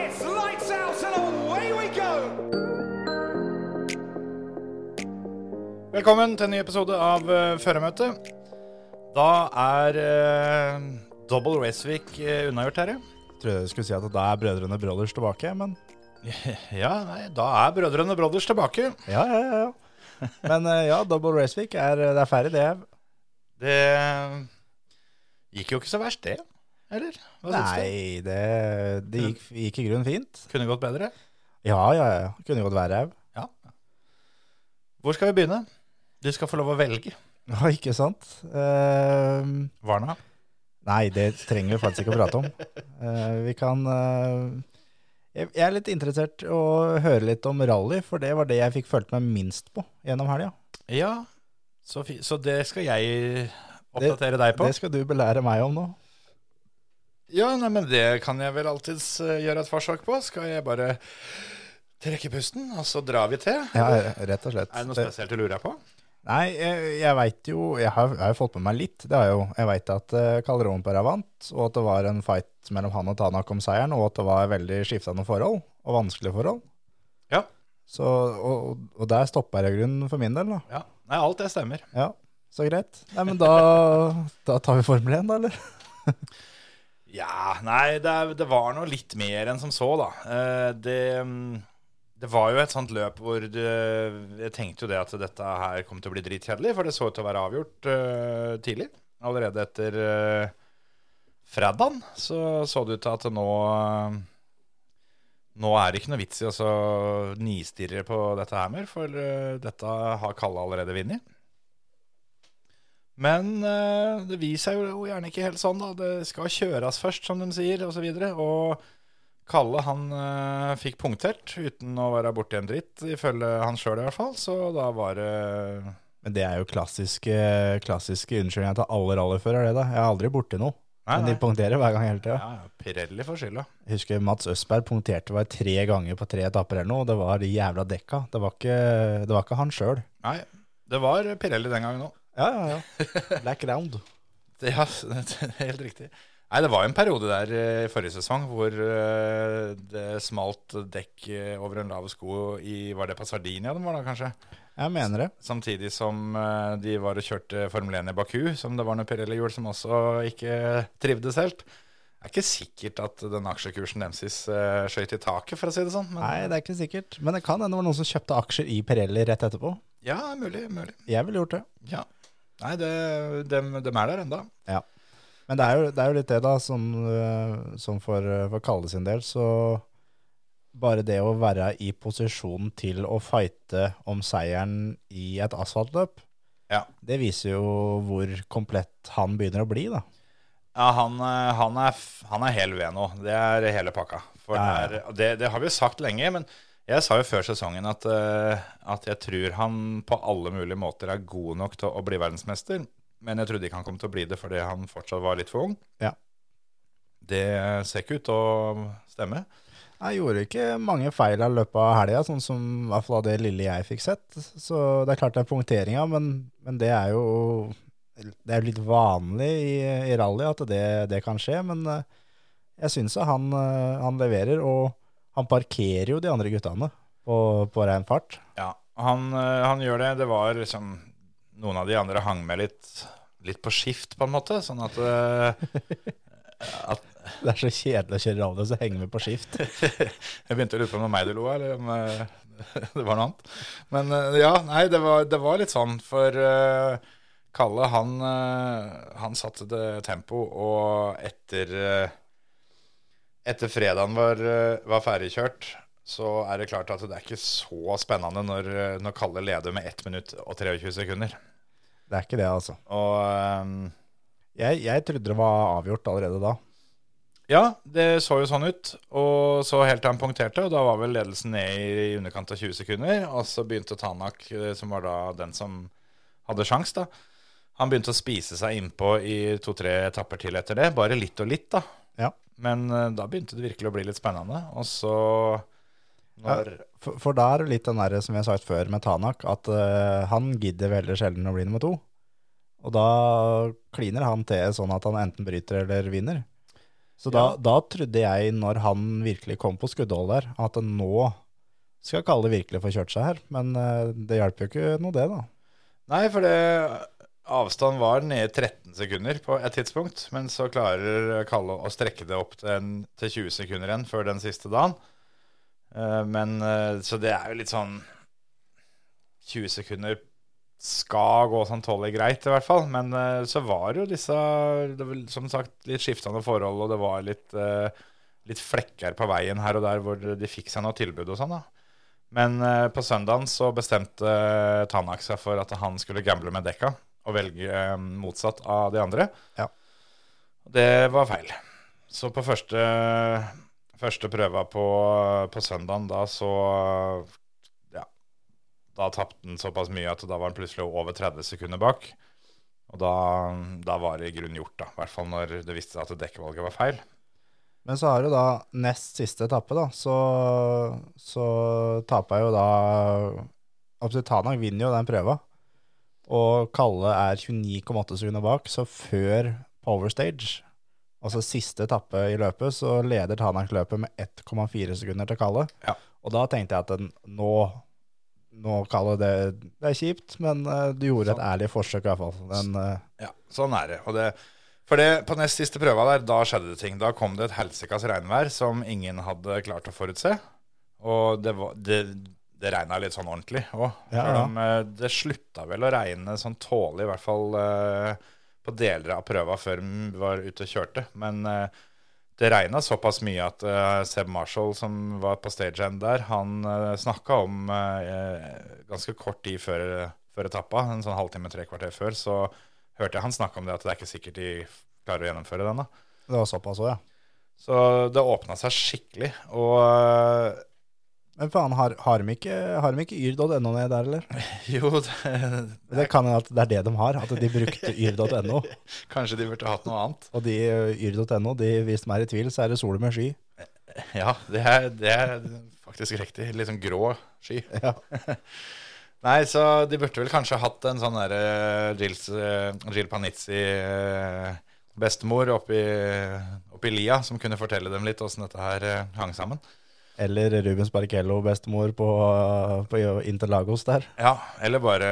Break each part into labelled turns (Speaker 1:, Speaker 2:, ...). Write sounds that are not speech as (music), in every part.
Speaker 1: It's lights out and away we go!
Speaker 2: Velkommen til en ny episode av eh, Førermøtet. Da er eh, Double Racevik eh, unnagjort, Terje. Trodde jeg skulle si at da er Brødrene Brothers tilbake, men (laughs) Ja, nei, da er Brødrene Brothers tilbake.
Speaker 3: Ja, ja, ja, ja. Men eh, ja, Double Race Week er, eh, det er ferdig, det.
Speaker 2: Det eh, gikk jo ikke så verst, det. Eller? Hva syns du?
Speaker 3: Nei, det, det gikk, gikk i grunnen fint.
Speaker 2: Kunne gått bedre.
Speaker 3: Ja, ja, ja. Kunne godt være au.
Speaker 2: Hvor skal vi begynne? Du skal få lov å velge.
Speaker 3: (laughs) Ja, ikke sant? Ehm,
Speaker 2: Varna.
Speaker 3: nei, det trenger vi faktisk ikke å prate om. Eh, vi kan eh, jeg, jeg er litt interessert i å høre litt om rally, for det var det jeg fikk følt meg minst på gjennom helga.
Speaker 2: Ja, så, fi så det skal jeg oppdatere deg på.
Speaker 3: Det skal du belære meg om nå.
Speaker 2: Ja, nei, men det kan jeg vel alltids eh, gjøre et forsøk på. Skal jeg bare trekke pusten, og så drar vi til?
Speaker 3: Ja, rett og slett.
Speaker 2: Er det noe
Speaker 3: Det-
Speaker 2: spesielt du lurer på?
Speaker 3: Nei, jeg, jeg veit jo Jeg har jeg har jo fått med meg litt. Det har jeg jo. Jeg veit at uh, Calderón Pera vant, og at det var en fight mellom han og Tanak om seieren, og at det var veldig skiftende forhold, og vanskelige forhold.
Speaker 2: Ja.
Speaker 3: Så, og, og- og der stoppa jeg i grunnen for min del, da.
Speaker 2: ja. Nei, alt det stemmer.
Speaker 3: Ja, så greit. Nei, men
Speaker 2: (laughs)
Speaker 3: da, da tar vi Formel 1, da, eller?
Speaker 2: Ja, nei, det, er- det var noe litt mer enn som så, da. Eh, Det, mm, det var jo et sånt løp hvor det, jeg tenkte jo det at dette her kom til å bli dritkjedelig, for det så ut til å være avgjort eh, tidlig. Allerede etter uh, fredagen så så det ut til at nå eh, Nå er det ikke noe vits i å så nistirre på dette her mer, for eh, dette har Kalle allerede vunnet. Men eh, det viser seg jo gjerne ikke helt sånn, da. Det skal kjøres først, som de sier, osv. Og, så videre. og Kalle han eh, fikk punktert uten å være borti en dritt, ifølge han sjøl i hvert fall. Så da var det
Speaker 3: Men det er jo eh, klassiske, klassiske unnskyldninga til alle rallyførere, det, da. Jeg er aldri borti noe.
Speaker 2: Nei,
Speaker 3: Men
Speaker 2: nei.
Speaker 3: de punkterer hver gang hele tida.
Speaker 2: Ja, ja, Pirelli for skylda.
Speaker 3: Jeg husker Mats Østberg punkterte meg tre ganger på tre etapper eller noe, og det var de jævla dekka. Det var ikke, det var ikke han sjøl.
Speaker 2: Nei, det var Pirelli den gangen òg.
Speaker 3: Ja, ja, (laughs) ja. Black round.
Speaker 2: (laughs) Ja, det er helt riktig. Nei, det var jo en periode der eh, i forrige sesong hvor eh, det smalt dekk eh, over en lav sko i Var det på Sardinia de var da, kanskje?
Speaker 3: Jeg mener det.
Speaker 2: Samtidig som eh, de var og kjørte Formel 1 i Baku, som det var noen Pirelli-hjul som også ikke eh, trivdes helt. Det er ikke sikkert at den aksjekursen deres eh, skøyt i taket, for å si det sånn. Men
Speaker 3: Nei, det er ikke sikkert. Men det kan hende det var noen som kjøpte aksjer i Pirelli rett etterpå.
Speaker 2: ja, mulig. mulig.
Speaker 3: Jeg ville gjort det.
Speaker 2: Ja. Nei, det, dem, dem er der enda.
Speaker 3: Ja. Men det er jo, det er jo litt det, da, som, øh, som for, øh, for Kalle sin del, så bare det å være i posisjon til å fighte om seieren i et asfaltløp,
Speaker 2: Ja.
Speaker 3: det viser jo hvor komplett han begynner å bli, da.
Speaker 2: Ja, han, eh, han, er, f- han er hel ved nå. Det er hele pakka. For
Speaker 3: Ja, ja.
Speaker 2: det er- det, det har vi jo sagt lenge, men jeg sa jo før sesongen at, eh, at jeg tror han på alle mulige måter er god nok til å bli verdensmester. Men jeg trodde ikke han kom til å bli det fordi han fortsatt var litt for ung.
Speaker 3: Ja.
Speaker 2: Det ser ikke ut til å stemme.
Speaker 3: Jeg gjorde ikke mange feil av løpet av helga, sånn som i hvert fall av det lille jeg fikk sett. Så det er klart det er punkteringa, men, men det er jo det er jo litt vanlig i, i rally at det, det kan skje. Men eh, jeg syns han, eh, han leverer, og han parkerer jo de andre guttene på, på rein fart. (laughs)
Speaker 2: Ja, han, eh, han gjør det. Det var liksom Noen av de andre hang med litt, litt på skift, på en måte. Sånn at eh, at,
Speaker 3: Det er så kjedelig å kjøre rally, og så henger vi på skift.
Speaker 2: Jeg begynte å lure på om det var meg du lo av, eller om eh, (laughs) det var noe annet. Men eh, ja, nei, det var, det var litt sånn, for eh, Kalle, han, eh, han satte det tempo, og etter, eh, etter fredagen var, eh, var ferdigkjørt, så er det klart at det er ikke så spennende når, eh, når Kalle leder med 1 minutt og 23 sekunder.
Speaker 3: Det er ikke det, altså.
Speaker 2: Og... eh,
Speaker 3: Jeg, jeg trodde det var avgjort allerede da.
Speaker 2: Ja, det så jo sånn ut. Og så helt til han punkterte, og da var vel ledelsen ned i underkant av 20 sekunder. Og så begynte Tanak, eh, som var da den som hadde sjans, da. Han begynte å spise seg innpå i to-tre etapper til etter det. Bare litt og litt, da.
Speaker 3: Ja.
Speaker 2: Men eh, da begynte det virkelig å bli litt spennende. Og så når
Speaker 3: For, for da er det litt den derre som jeg har sagt før med Tanak, at eh, han gidder veldig sjelden å bli nummer to. Og da kliner han til sånn at han enten bryter eller vinner. Så da,
Speaker 2: Ja.
Speaker 3: da trodde jeg, når han virkelig kom på skuddhold der, at nå skal Kalle virkelig få kjørt seg her. Men eh, det hjalp jo ikke noe, det, da.
Speaker 2: Nei, for det Avstand var nede i 13 sekunder på et tidspunkt, men så klarer Kalle å strekke det opp til, en, til 20 sekunder igjen før den siste dagen. Eh, Men eh, Så det er jo litt sånn 20 sekunder skal gå sånn tålelig greit, i hvert fall. Men eh, så var jo disse det var, Som sagt, litt skiftende forhold, og det var litt, eh, litt flekker på veien her og der hvor de fikk seg noe tilbud og sånn, da. Men eh, på søndagen så bestemte eh, Tanak seg for at han skulle gamble med dekka og velge eh, motsatt av de andre.
Speaker 3: Ja.
Speaker 2: Det var feil. Så på første, første prøva på, på søndagen da så ja, da tapte han såpass mye at da var han plutselig over 30 sekunder bak. Og da, da var det i grunnen gjort, da. I hvert fall når det viste seg at dekkvalget var feil.
Speaker 3: Men så har du da nest siste etappe, da, så, så taper jo da Absolutt Tanak vinner jo den prøva. Og Kalle er 29,8 sekunder bak, så før Power Stage, altså siste etappe i løpet, så leder Tanak løpet med 1,4 sekunder til Kalle.
Speaker 2: Ja.
Speaker 3: Og da tenkte jeg at den, nå Nå, Kalle, det, det er kjipt, men eh, du gjorde et ærlig forsøk, i hvert fall. Den, eh,
Speaker 2: Ja, sånn er det. Og det for det, på nest siste prøva der, da skjedde det ting. Da kom det et helsikas regnvær som ingen hadde klart å forutse. Og det, var- det, det regna litt sånn ordentlig òg.
Speaker 3: Ja, ja.
Speaker 2: eh, Det slutta vel å regne sånn tålelig, i hvert fall eh, på deler av prøva før de var ute og kjørte. Men eh, det regna såpass mye at eh, Seb Marshall, som var på stage end der, han uh, snakka om eh, ganske kort tid før, før etappa, en sånn halvtime, tre kvarter før, så hørte jeg han snakke om det, at det er ikke sikkert de klarer å gjennomføre den. da.
Speaker 3: det var såpass òg, ja.
Speaker 2: Så det åpna seg skikkelig. Og eh,
Speaker 3: Men faen, har, har de ikke, har de ikke yr.no ned der, eller?
Speaker 2: (laughs) jo, det,
Speaker 3: Det kan hende at det er det de har, at de brukte yr.no.
Speaker 2: kanskje de burde hatt noe annet.
Speaker 3: Og de eh, ø, yr.no, de, hvis de er i tvil, så er det sol med sky.
Speaker 2: (laughs) Ja, det er, det er faktisk riktig. Litt sånn grå (laughs) sky.
Speaker 3: Ja.
Speaker 2: Nei, så de burde vel kanskje hatt en sånn derre Jill, Jill Panizzi-bestemor eh, oppi, oppi lia, som kunne fortelle dem litt åssen dette her eh, hang sammen.
Speaker 3: Eller Rubens Barrichello, bestemor på, ø, på Interlagos der.
Speaker 2: Ja, eller bare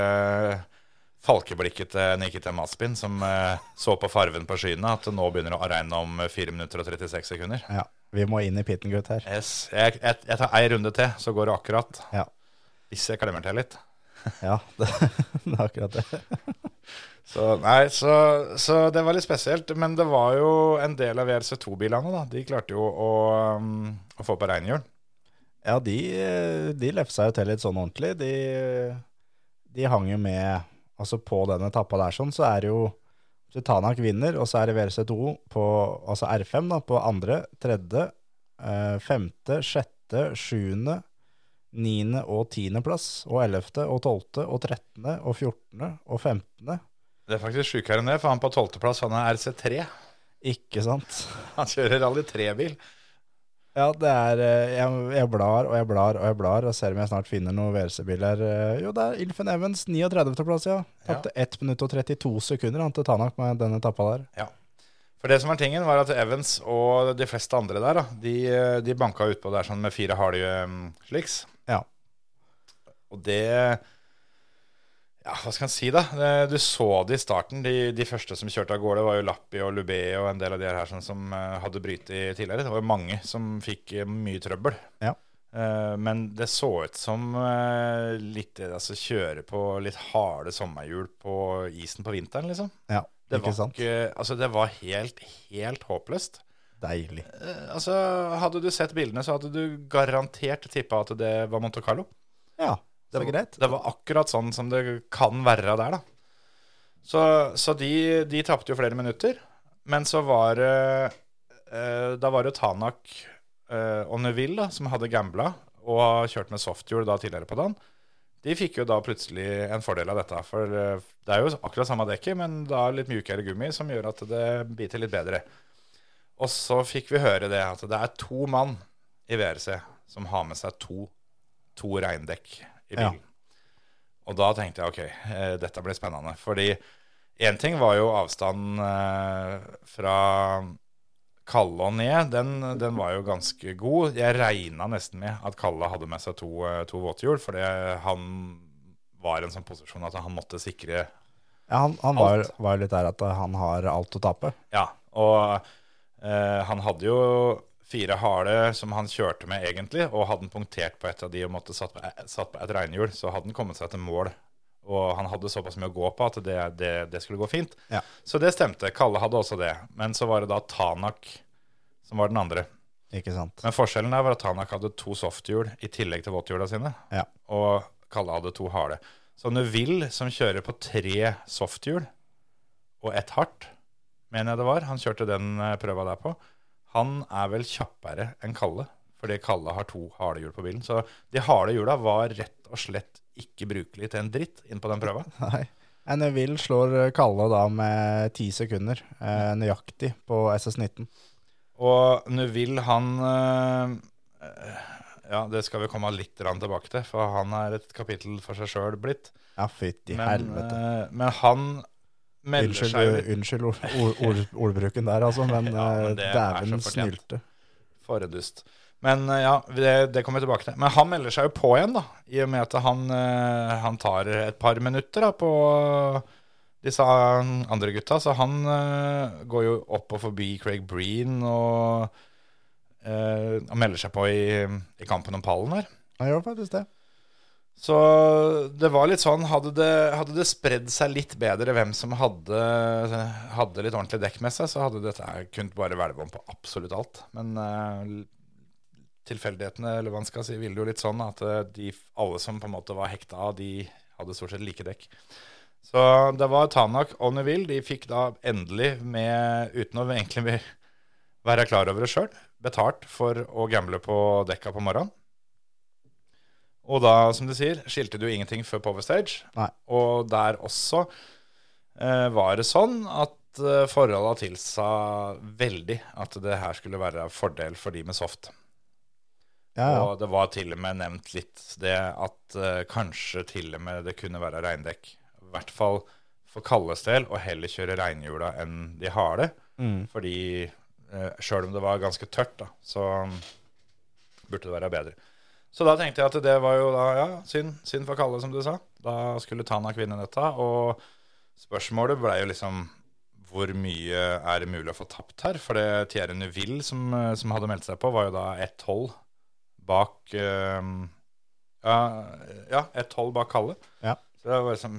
Speaker 2: falkeblikket til Nikita Maspin, som eh, så på farven på skyene at det nå begynner å regne om 4 minutter og 36 sekunder.
Speaker 3: Ja, vi må inn i pitten, gutt, her.
Speaker 2: Yes. Jeg, jeg, jeg tar ei runde til, så går det akkurat.
Speaker 3: Ja,
Speaker 2: Hvis jeg klemmer til litt.
Speaker 3: ja (laughs) det, det er akkurat det.
Speaker 2: Så, nei, så, så det var litt spesielt. Men det var jo en del av VRC2-bilene, da. De klarte jo å, um, å få på reinhjul.
Speaker 3: Ja, de, ø, de lefsa jo til litt sånn ordentlig. De, ø, de hang jo med Altså, på den etappa der sånn, så er det jo så Tanak vinner, og så er det VRC2 på altså R5 da, på andre, tredje, eh, femte, sjette, sjuende, niende og tiende plass, og ellevte og tolvte og trettende og fjortende og femtende.
Speaker 2: Det er faktisk sjukere enn det, for han på tolvteplass, han er RC3.
Speaker 3: Ikke sant?
Speaker 2: Han kjører Rally 3-bil.
Speaker 3: Ja, det er eh, Jeg, jeg blar og jeg blar og jeg blar, og ser om jeg snart finner noen VRC-biler. Eh, Jo, det er Ilfen Evans, 39. plass, ja. Tapte 1 minutt og 32 sekunder han til Tanak med denne tappa der.
Speaker 2: For det som var tingen, var at Evans og de fleste andre der, da, de, de banka utpå der sånn med fire harde um, sliks.
Speaker 3: Ja.
Speaker 2: Og det Ja, hva skal en si, da? Det- Du så det i starten. De, de første som kjørte av gårde, var jo Lappi og Lubé og en del av de her sånn, som eh, hadde brytet tidligere. Det var jo mange som fikk eh, mye trøbbel.
Speaker 3: Ja.
Speaker 2: Eh, Men det så ut som eh, litt det altså, kjøre på litt harde sommerhjul på isen på vinteren, liksom.
Speaker 3: Ja,
Speaker 2: Det var,
Speaker 3: ikke sant?
Speaker 2: ikke, altså det var helt, helt håpløst.
Speaker 3: Deilig.
Speaker 2: Eh, Altså, hadde du sett bildene, så hadde du garantert tippa at det var Monte Carlo.
Speaker 3: Ja, så
Speaker 2: var,
Speaker 3: greit.
Speaker 2: det var akkurat sånn som det kan være der, da. Så, så de, de tapte jo flere minutter. Men så var det eh, da var det jo Tanak eh, og Neville da, som hadde gambla og har kjørt med softhjul da tidligere på dagen. De fikk jo da plutselig en fordel av dette. For eh, det er jo akkurat samme dekket, men da litt mjukere gummi som gjør at det biter litt bedre. Og så fikk vi høre det at det er to mann i VRC som har med seg to, to regndekk i
Speaker 3: Ja.
Speaker 2: bilen. Og da tenkte jeg ok, eh, dette blir spennende. Fordi én ting var jo avstanden eh, fra Kalle og ned. Den, den var jo ganske god. Jeg regna nesten med at Kalle hadde med seg to, eh, to våthjul, fordi han var i en sånn posisjon at han måtte sikre
Speaker 3: Ja, han, han var,
Speaker 2: Alt.
Speaker 3: var jo litt der at han har alt å tape.
Speaker 2: Ja, og eh, han hadde jo fire harde som han kjørte med egentlig, og hadde han punktert på et av de og måtte satt på, eh, satt på et regnhjul, så hadde han kommet seg til mål. Og han hadde såpass mye å gå på at det, det, det skulle gå fint.
Speaker 3: Ja.
Speaker 2: Så det stemte. Kalle hadde også det. Men så var det da Tanak som var den andre.
Speaker 3: Ikke sant? (laughs)
Speaker 2: Men forskjellen der var at Tanak hadde to softhjul i tillegg til våthjula sine,
Speaker 3: Ja.
Speaker 2: og Kalle hadde to harde. Så Neville, som kjører på tre softhjul og ett hardt, mener jeg det var, han kjørte den eh, prøva der på, han er vel kjappere enn Kalle, fordi Kalle har to harde hjul på bilen. Så de harde hjula var rett og slett ikke brukelig til en dritt inn på den prøva.
Speaker 3: Nei. Nei, Neville slår Kalle da med ti sekunder eh, nøyaktig på SS19.
Speaker 2: Og Neville, han eh, eh, Ja, det skal vi komme litt grann tilbake til, for han er et kapittel for seg sjøl blitt.
Speaker 3: Ja, fytti
Speaker 2: men,
Speaker 3: helvete.
Speaker 2: eh, men han melder seg
Speaker 3: Unnskyld, eh,
Speaker 2: jo
Speaker 3: unnskyld ord, ord, ord, ordbruken der, altså, men,
Speaker 2: (laughs) Ja, men
Speaker 3: eh,
Speaker 2: det er
Speaker 3: dæven
Speaker 2: så fortjent.
Speaker 3: snylte.
Speaker 2: For en dust. Men eh, ja, det, det kommer jeg tilbake til. Men han melder seg jo på igjen, da. I og med at han, eh, han tar et par minutter da, på disse andre gutta. Så han eh, går jo opp og forbi Craig Breen og, eh, og melder seg på i, i kampen om pallen her.
Speaker 3: Han gjør faktisk det.
Speaker 2: Så det var litt sånn Hadde det, hadde det spredd seg litt bedre hvem som hadde, hadde litt ordentlig dekk med seg, så hadde dette her kunnet bare hvelve om på absolutt alt. Men eh, tilfeldighetene, eller hva man skal si, ville jo litt sånn at eh, de, alle som på en måte var hekta av, de hadde stort sett like dekk. Så det var Tanak og Neville. De fikk da endelig, med, uten å egentlig (laughs) være klar over det sjøl, betalt for å gamble på dekka på morgenen. Og da, som du sier, skilte du ingenting før Power Stage.
Speaker 3: Nei.
Speaker 2: Og der også eh, var det sånn at eh, forholda tilsa veldig at det her skulle være fordel for de med soft.
Speaker 3: Ja, ja.
Speaker 2: Og det var til og med nevnt litt det at eh, kanskje til og med det kunne være regndekk. I hvert fall for Kalles del, og heller kjøre regnhjula enn de harde.
Speaker 3: Mm.
Speaker 2: Fordi eh, sjøl om det var ganske tørt, da, så um, burde det være bedre. Så da tenkte jeg at det var jo da, ja, synd, synd for Kalle, som du sa. Da skulle Tanak vinne dette. Og spørsmålet ble jo liksom hvor mye er det mulig å få tapt her? For det Thierry Neuville som, eh, som hadde meldt seg på, var jo da ett hold bak eh, Ja, ja ett hold bak Kalle.
Speaker 3: Ja.
Speaker 2: Så det var liksom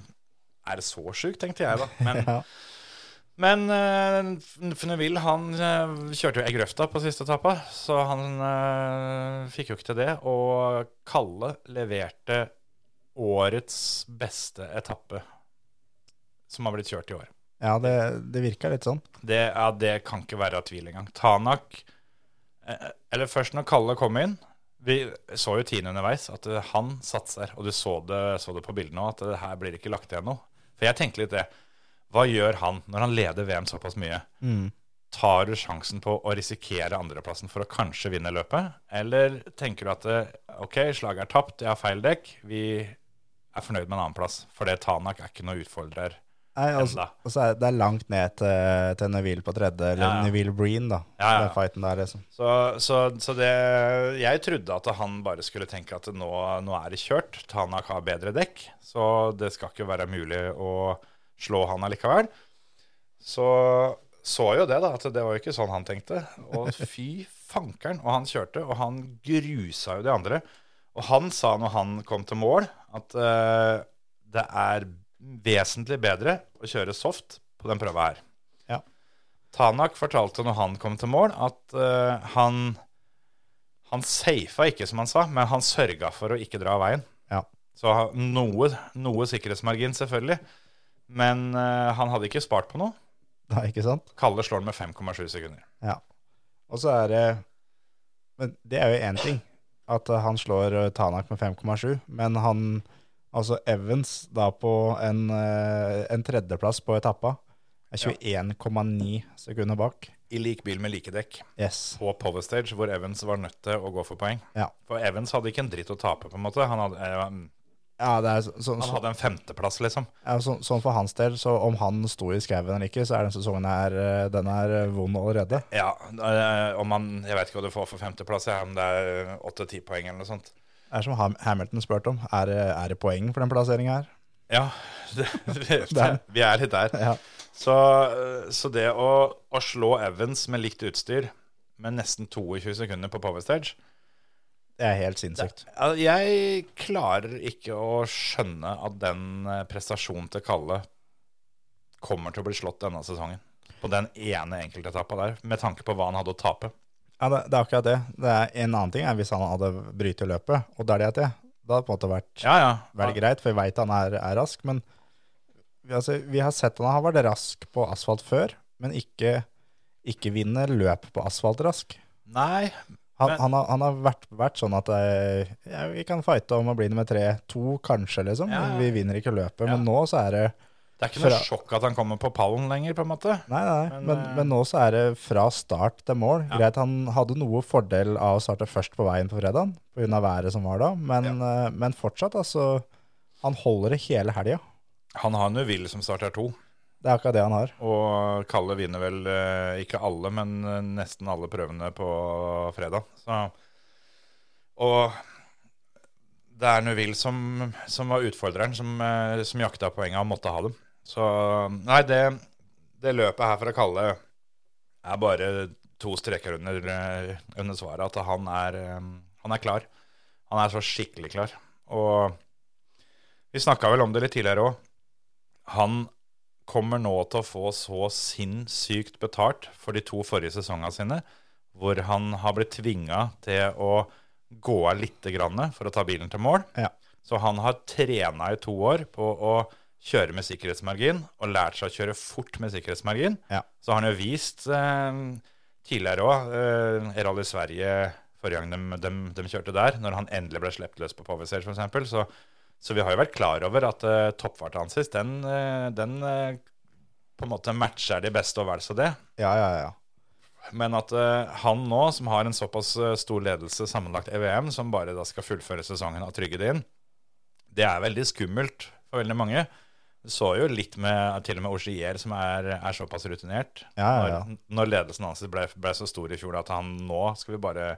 Speaker 2: Er det så sjukt, tenkte jeg da. Men (laughs)
Speaker 3: (laughs) Ja.
Speaker 2: men uh, Neville han eh, kjørte jo i grøfta på siste etappa, så han eh, fikk jo ikke til det. Og Kalle leverte årets beste etappe som har blitt kjørt i år.
Speaker 3: ja det, det virka litt sånn.
Speaker 2: Det, ja, det kan ikke være tvil engang. Tanak eh, Eller først når Kalle kom inn Vi så jo Tine underveis at eh, han satser, og du så det, så det på bildene òg, at det her blir ikke lagt igjen noe. For jeg tenker litt det. Hva gjør han når han leder VM såpass mye?
Speaker 3: Mm.
Speaker 2: Tar du sjansen på å risikere andreplassen for å kanskje vinne løpet? Eller tenker du at eh, OK, slaget er tapt, jeg har feil dekk, vi er fornøyd med en annenplass? For det Tanak er ikke noe utfordrer.
Speaker 3: Nei, altså,
Speaker 2: Enda.
Speaker 3: altså, det er langt ned til, til Neville på tredje, eller
Speaker 2: Ja, ja.
Speaker 3: Neville Breen, da.
Speaker 2: Ja, ja.
Speaker 3: Den fighten der, liksom.
Speaker 2: Så, så, så det, jeg trodde at han bare skulle tenke at nå, nå er det kjørt. Tanak har bedre dekk, så det skal ikke være mulig å slå han allikevel. Så så jo det, da, at det var jo ikke sånn han tenkte. Og fy fankeren. Og han kjørte, og han grusa jo de andre. Og han sa når han kom til mål, at eh, det er vesentlig bedre å kjøre soft på den prøva her. Tanak fortalte når han kom til mål, at eh, han Han safa ikke, som han sa, men han sørga for å ikke dra av veien.
Speaker 3: Ja. (laughs)
Speaker 2: Så ha- noe, noe sikkerhetsmargin, selvfølgelig. Men eh, han hadde ikke spart på noe.
Speaker 3: Nei, ikke sant?
Speaker 2: Kalle slår den med 5,7 sekunder.
Speaker 3: Ja. Og så er det Men det er jo én ting at eh, han slår eh, Tanak med 5,7, men han Altså Evans da på en, eh, en tredjeplass på etappa er 21,9 sekunder bak.
Speaker 2: I lik bil med like dekk
Speaker 3: Yes.
Speaker 2: på Power Stage, hvor Evans var nødt til å gå for poeng.
Speaker 3: Ja.
Speaker 2: For Evans hadde ikke en dritt å tape, på en måte. Han hadde, eh,
Speaker 3: Ja, det er så, så,
Speaker 2: han
Speaker 3: så,
Speaker 2: hadde en femteplass, liksom.
Speaker 3: ja, så, sånn for hans del, så om han sto i skauen eller ikke, så er den sesongen her eh, den er eh, vond allerede.
Speaker 2: Ja, eh, om han Jeg vet ikke hva du får for femteplass, ja, om det er åtte-ti poeng eller noe sånt.
Speaker 3: Det er som Ham- Hamilton spurte om. Er, det- er det poeng for den plasseringa her?
Speaker 2: Ja, (laughs) det,
Speaker 3: Der.
Speaker 2: vi er litt der.
Speaker 3: Ja.
Speaker 2: Så, eh, så det å, å slå Evans med likt utstyr med nesten 22 sekunder på Power Stage
Speaker 3: Det er helt sinnssykt.
Speaker 2: Al- Jeg klarer ikke å skjønne at den eh, prestasjonen til Kalle kommer til å bli slått denne sesongen. På den ene enkeltetappa der, med tanke på hva han hadde å tape.
Speaker 3: Ja, det, det er akkurat det. det er, en annen ting er hvis han hadde brytt i løpet, og det er det at det. Da hadde det på en måte vært,
Speaker 2: Ja, ja.
Speaker 3: vært greit, for vi veit han er, er rask. Men vi, altså, vi har sett han har vært rask på asfalt før, men ikke, ikke vinner løp på asfalt rask.
Speaker 2: Nei,
Speaker 3: Han,
Speaker 2: Men-
Speaker 3: han, har, han har vært, vært sånn at eh, ja, vi kan fighte om å bli nummer tre, to kanskje, liksom.
Speaker 2: Ja, ja.
Speaker 3: Vi vinner ikke løpet,
Speaker 2: Ja.
Speaker 3: men nå så er det
Speaker 2: det er ikke noe
Speaker 3: Fra-
Speaker 2: sjokk at han kommer på pallen lenger, på en måte.
Speaker 3: Nei, nei,
Speaker 2: Men,
Speaker 3: men, men,
Speaker 2: eh,
Speaker 3: nå så er det fra start til mål. Greit, han hadde noe fordel av å starte først på veien på fredagen, pga. været som var da, men, eh, men fortsatt, altså. Han holder det hele helga.
Speaker 2: Han har Nuville som starter to,
Speaker 3: Det er akkurat det han har.
Speaker 2: og Kalle vinner vel eh, ikke alle, men eh, nesten alle prøvene på fredag. Så, og det er Nuville som, som var utfordreren, som, eh, som jakta poenga og måtte ha dem. Så nei, det, det løpet her fra Kalle er bare to streker under, eh, under svaret, at han er, eh, han er klar. Han er så skikkelig klar. Og vi snakka vel om det litt tidligere òg. Han kommer nå til å få så sinnssykt betalt for de to forrige sesongene sine, hvor han har blitt tvinga til å gå av lite grann for å ta bilen til mål.
Speaker 3: Ja.
Speaker 2: Så han har trena i to år på å kjøre med sikkerhetsmargin, og lært seg å kjøre fort med sikkerhetsmargin.
Speaker 3: Ja.
Speaker 2: Så har han jo vist eh, tidligere òg, eh, Rally Sverige forrige gang de, kjørte der, når han endelig ble sluppet løs på Powerstage f.eks., så, så vi har jo vært klar over at uh, toppfarten hans sist, den, eh, den eh, på en måte matcher de beste og vel så det.
Speaker 3: Ja, ja, ja.
Speaker 2: Men at eh, han nå, som har en såpass eh, stor ledelse sammenlagt i VM, som bare da skal fullføre sesongen og trygge det inn, det er veldig skummelt for veldig mange. Du så jo litt med til og med Ogier, som er, er såpass rutinert.
Speaker 3: Ja, ja, ja.
Speaker 2: Når, når ledelsen hans ble, ble så stor i fjor at han nå skal vi bare,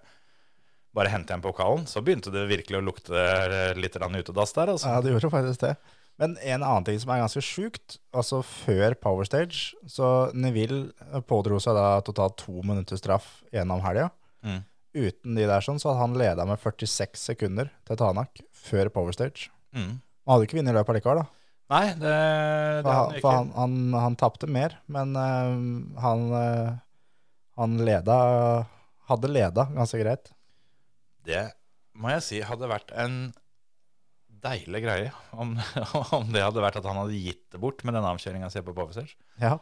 Speaker 2: bare hente igjen pokalen, så begynte det virkelig å lukte eh, litt grann utedass der. Altså.
Speaker 3: Ja, det gjorde faktisk det. Men en annen ting som er ganske sjukt, altså før Power Stage, så Neville eh, pådro seg da totalt to minutter straff gjennom helga.
Speaker 2: Mm.
Speaker 3: Uten de der sånn, så hadde han leda med 46 sekunder til Tanak før Power Stage.
Speaker 2: Mm.
Speaker 3: Han hadde ikke vunnet løpet likevel, da.
Speaker 2: Nei, det, det
Speaker 3: For
Speaker 2: er han
Speaker 3: han,
Speaker 2: ikke.
Speaker 3: for han, han, han tapte mer, men eh, han, eh, han leda hadde leda ganske greit.
Speaker 2: Det må jeg si hadde vært en deilig greie om, (laughs) om det hadde vært at han hadde gitt det bort med den avkjøringa si på Bovesers.
Speaker 3: Ja.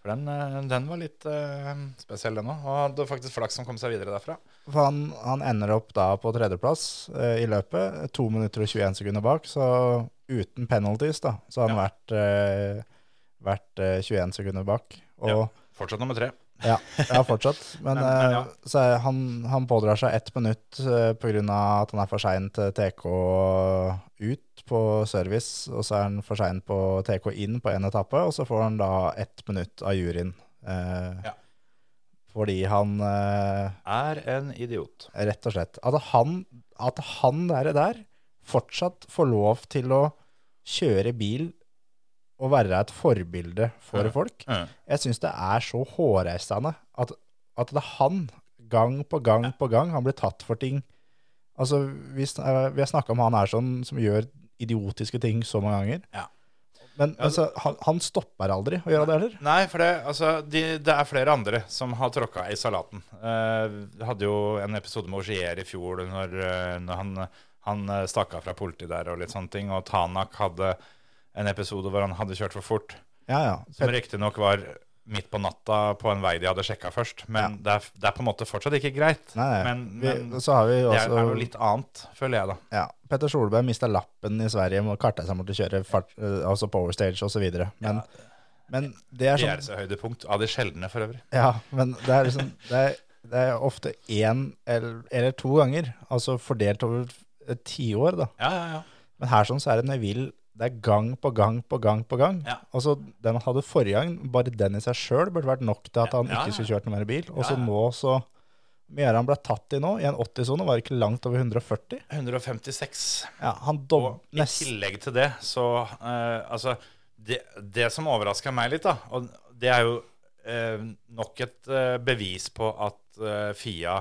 Speaker 2: For den, eh, den var litt eh, spesiell, den òg. Og hadde faktisk flaks som kom seg videre derfra.
Speaker 3: For han, han ender opp da på tredjeplass eh, i løpet, 2 minutter og 21 sekunder bak, så uten penalties da, så har han vært, eh, vært eh, 21 sekunder bak. Og
Speaker 2: Ja. Fortsatt nummer tre.
Speaker 3: Ja, ja fortsatt. Men,
Speaker 2: Men- men
Speaker 3: eh,
Speaker 2: ja.
Speaker 3: så er han, han pådrar seg ett minutt eh, på grunn av at han er for sein til TK ut på service, og så er han for sein på TK inn på en etappe, og så får han da ett minutt av juryen. eh,
Speaker 2: Ja.
Speaker 3: Fordi han eh,
Speaker 2: Er en idiot.
Speaker 3: Rett og slett. At han, at han der, der fortsatt får lov til å kjøre bil og være et forbilde for
Speaker 2: Ja.
Speaker 3: folk.
Speaker 2: Mm.
Speaker 3: Jeg syns det er så hårreisende at, at det er han, gang på gang på gang, han blir tatt for ting. Altså, vi, sn- eh, vi har snakka om han her sånn, som gjør idiotiske ting så mange ganger.
Speaker 2: Ja.
Speaker 3: Men altså, han, han stopper aldri å gjøre det heller.
Speaker 2: Nei, for det, altså, de, det er flere andre som har tråkka i salaten. Eh, Vi hadde jo en episode med Ogier i fjor når, eh, når han, han eh, stakk av fra politiet der og litt sånne ting. Og Tanak hadde en episode hvor han hadde kjørt for fort.
Speaker 3: Ja, ja.
Speaker 2: Som riktignok var midt på natta på en vei de hadde sjekka først. Men det, er, det er på en måte fortsatt ikke greit.
Speaker 3: Nei,
Speaker 2: Men,
Speaker 3: vi,
Speaker 2: men
Speaker 3: så har vi
Speaker 2: det er, er
Speaker 3: også
Speaker 2: jo litt annet, føler jeg, da.
Speaker 3: ja, Petter Solberg mista lappen i Sverige og karta seg mot å kjøre fart, eh, altså power stage osv. Men, men det er
Speaker 2: Det
Speaker 3: sånn
Speaker 2: er høydepunkt av de sjeldne, for øvrig.
Speaker 3: Ja, men det er liksom Det er, det er ofte én eller, eller to ganger, altså fordelt over et tiår, da.
Speaker 2: Ja, ja, ja.
Speaker 3: Men her sånn så er det når jeg vil Det er gang på gang på gang på gang.
Speaker 2: Ja.
Speaker 3: Altså, den han hadde forrige gang, bare den i seg sjøl burde vært nok til at han
Speaker 2: Ja, ja, ja.
Speaker 3: ikke skulle kjørt noe mer bil. Og så
Speaker 2: Ja, ja.
Speaker 3: nå, så Mye er det han ble tatt i nå? I en 80-sone var det ikke langt over 140?
Speaker 2: 156.
Speaker 3: Ja, han dob...
Speaker 2: I
Speaker 3: Nesten.
Speaker 2: tillegg til det, så eh, Altså, det, det som overraska meg litt, da, og det er jo eh, nok et eh, bevis på at eh, Fia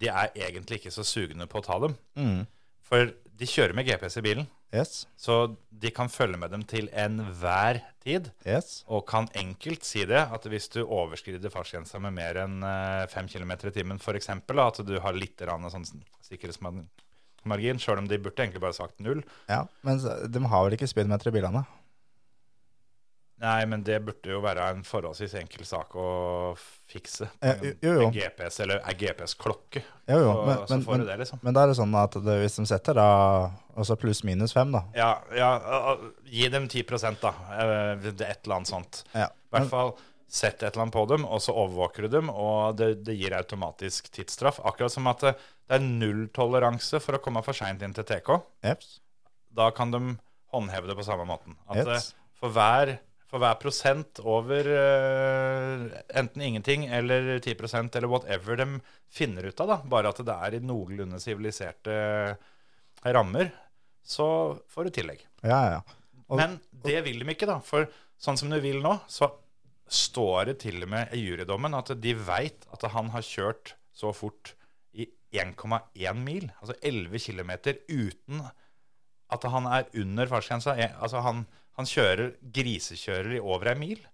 Speaker 2: De er egentlig ikke så sugne på å ta dem.
Speaker 3: Mm.
Speaker 2: For de kjører med GPS i bilen,
Speaker 3: Yes.
Speaker 2: så de kan følge med dem til enhver tid.
Speaker 3: Yes.
Speaker 2: Og kan enkelt si det, at hvis du overskrider fartsgrensa med mer enn 5 km i timen f.eks., at du har litt grann sånn sikkerhetsmargin, sjøl om de burde egentlig bare sagt null.
Speaker 3: Ja, men så- de har vel ikke speedometer i bilene?
Speaker 2: Nei, men det burde jo være en forholdsvis enkel sak å fikse.
Speaker 3: Eh, jo, jo, jo.
Speaker 2: En GPS, eller en GPS-klokke.
Speaker 3: Jo, jo,
Speaker 2: Så,
Speaker 3: men,
Speaker 2: så
Speaker 3: men,
Speaker 2: får
Speaker 3: men,
Speaker 2: du det, liksom.
Speaker 3: Men da er det sånn at det, hvis de setter da Altså pluss minus fem da
Speaker 2: Ja, ja, å- å- gi dem 10 da. eh, Et eller annet sånt.
Speaker 3: ja.
Speaker 2: I
Speaker 3: Men,
Speaker 2: hvert fall sett et eller annet på dem, og så overvåker du dem, og det, det gir automatisk tidsstraff. Akkurat som at det, det er nulltoleranse for å komme for seint inn til TK.
Speaker 3: jeps.
Speaker 2: Da kan de håndheve det på samme måten. At
Speaker 3: Yes.
Speaker 2: eh, for, hver, for hver prosent over eh, enten ingenting eller 10 eller whatever de finner ut av, da, bare at det er i noenlunde siviliserte eh, rammer, så får du tillegg.
Speaker 3: Ja, ja, ja Og-
Speaker 2: Men det vil de ikke, da. For sånn som du vil nå, så står det til og med i jurydommen at de veit at han har kjørt så fort i 1,1 mil, altså 11 km, uten at han er under fartsgrensa. Eh, Altså han, han kjører grisekjører i over ei mil.